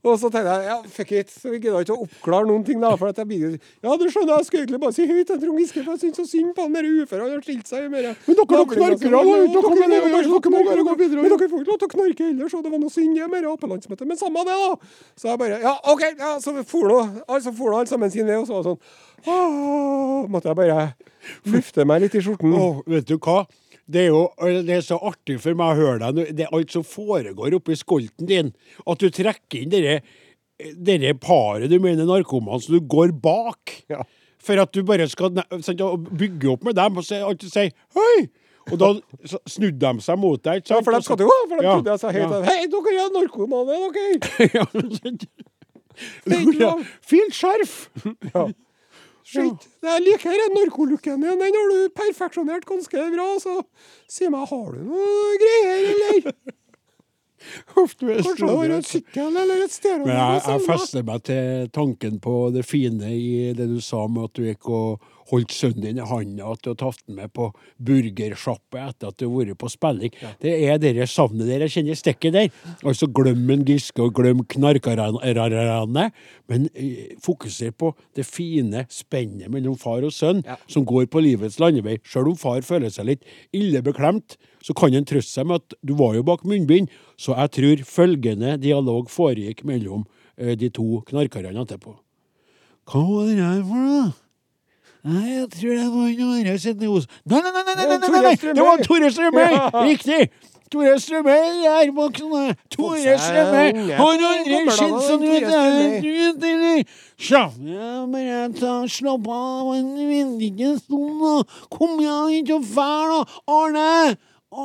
Og så tenkte jeg ja, fuck it, så jeg gidder ikke å oppklare noen ting. da, for at jeg blir, Ja, du skjønner, jeg skulle egentlig bare si høyt til Trond Giske, for jeg syns så synd på han der uføre, han har stilt seg i mer Men dere knarker, da, dere må jo- dere må jo må bare gå videre, Men dere får ikke lov til å knarke heller, så det var noe synd i mer Ap-landsmøte. Men samme det, da. Så jeg bare Ja, OK, ja, så for nå altså, for nå alle sammen sin vei, og så var det sånn «Åh», Måtte jeg bare lufte meg litt i skjorten. Åh, vet du hva? Det er jo det er så artig for meg å høre deg. nå. Det er alt som foregår oppi skolten din. At du trekker inn dere, dere paret du mener narkoman, så du går bak. Ja. For at du bare skal ne- sant, og bygge opp med dem, og så er alt du sier Hei! Og da så snudde de seg mot deg. Ja, for de skal jo ha, for de Ja, trodde jeg sa høyt ja. Hei, dere er narkomane, dere! [LAUGHS] ja, sant. Laura, Fint skjerf! Shit. Jeg liker den narkolooken din. Den har du perfeksjonert ganske bra. Så si meg, har du noe greier, [LAUGHS] eller? Uff, du er Kanskje du har en snodig. sykkel eller et stereo? Men jeg, jeg eller noe sånt, da? fester meg til tanken på det fine i det du sa med at du gikk og holdt sønnen din i handa, at du har tatt den med på burgersjappe etter at du har vært på spilling. Det er det savnet der. Jeg kjenner stikket der. Altså glem en Giske og glem knarkarane, men eh, fokuser på det fine spennet mellom far og sønn som går på livets landevei. Sjøl om far føler seg litt illebeklemt, så kan en trøste seg med at du var jo bak munnbind, så jeg tror følgende dialog foregikk mellom eh, de to knarkerne etterpå. Hva var det her for noe? Nei, jeg tror det var en andre sitt hos Nei, nei, nei, nei, nei, nei, nei, nei, nei, det var Tore Strømøy! Riktig! Tore Strømøy i ærboksen. Tore Strømøy! Han andre kjent som du vet eller? Tja, jeg bare ta slapp av en vennlig stund, sånn, da. Kom igjen, ikke fæl, da. Arne!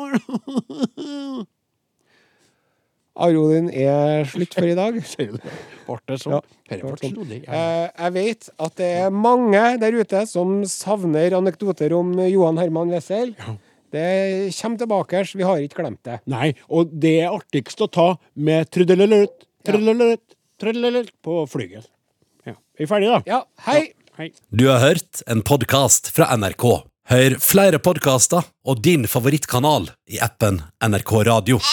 Arne [LAUGHS] Arodin er slutt for i [LAUGHS] dag. Ble det sånn? Ja, Dette ble sånn. snodig. Ja. Eh, Jeg vet at det er mange der ute som savner anekdoter om Johan Herman Wessel. Det kommer tilbake, vi har ikke glemt det. Nei, og det er artigst å ta med trudelutt, trudelutt, trudelutt på flyget. Ja. Er vi ferdige, da? Ja, hei! Hei. Du har hørt en podkast fra NRK. Hør flere podkaster og din favorittkanal i appen NRK Radio.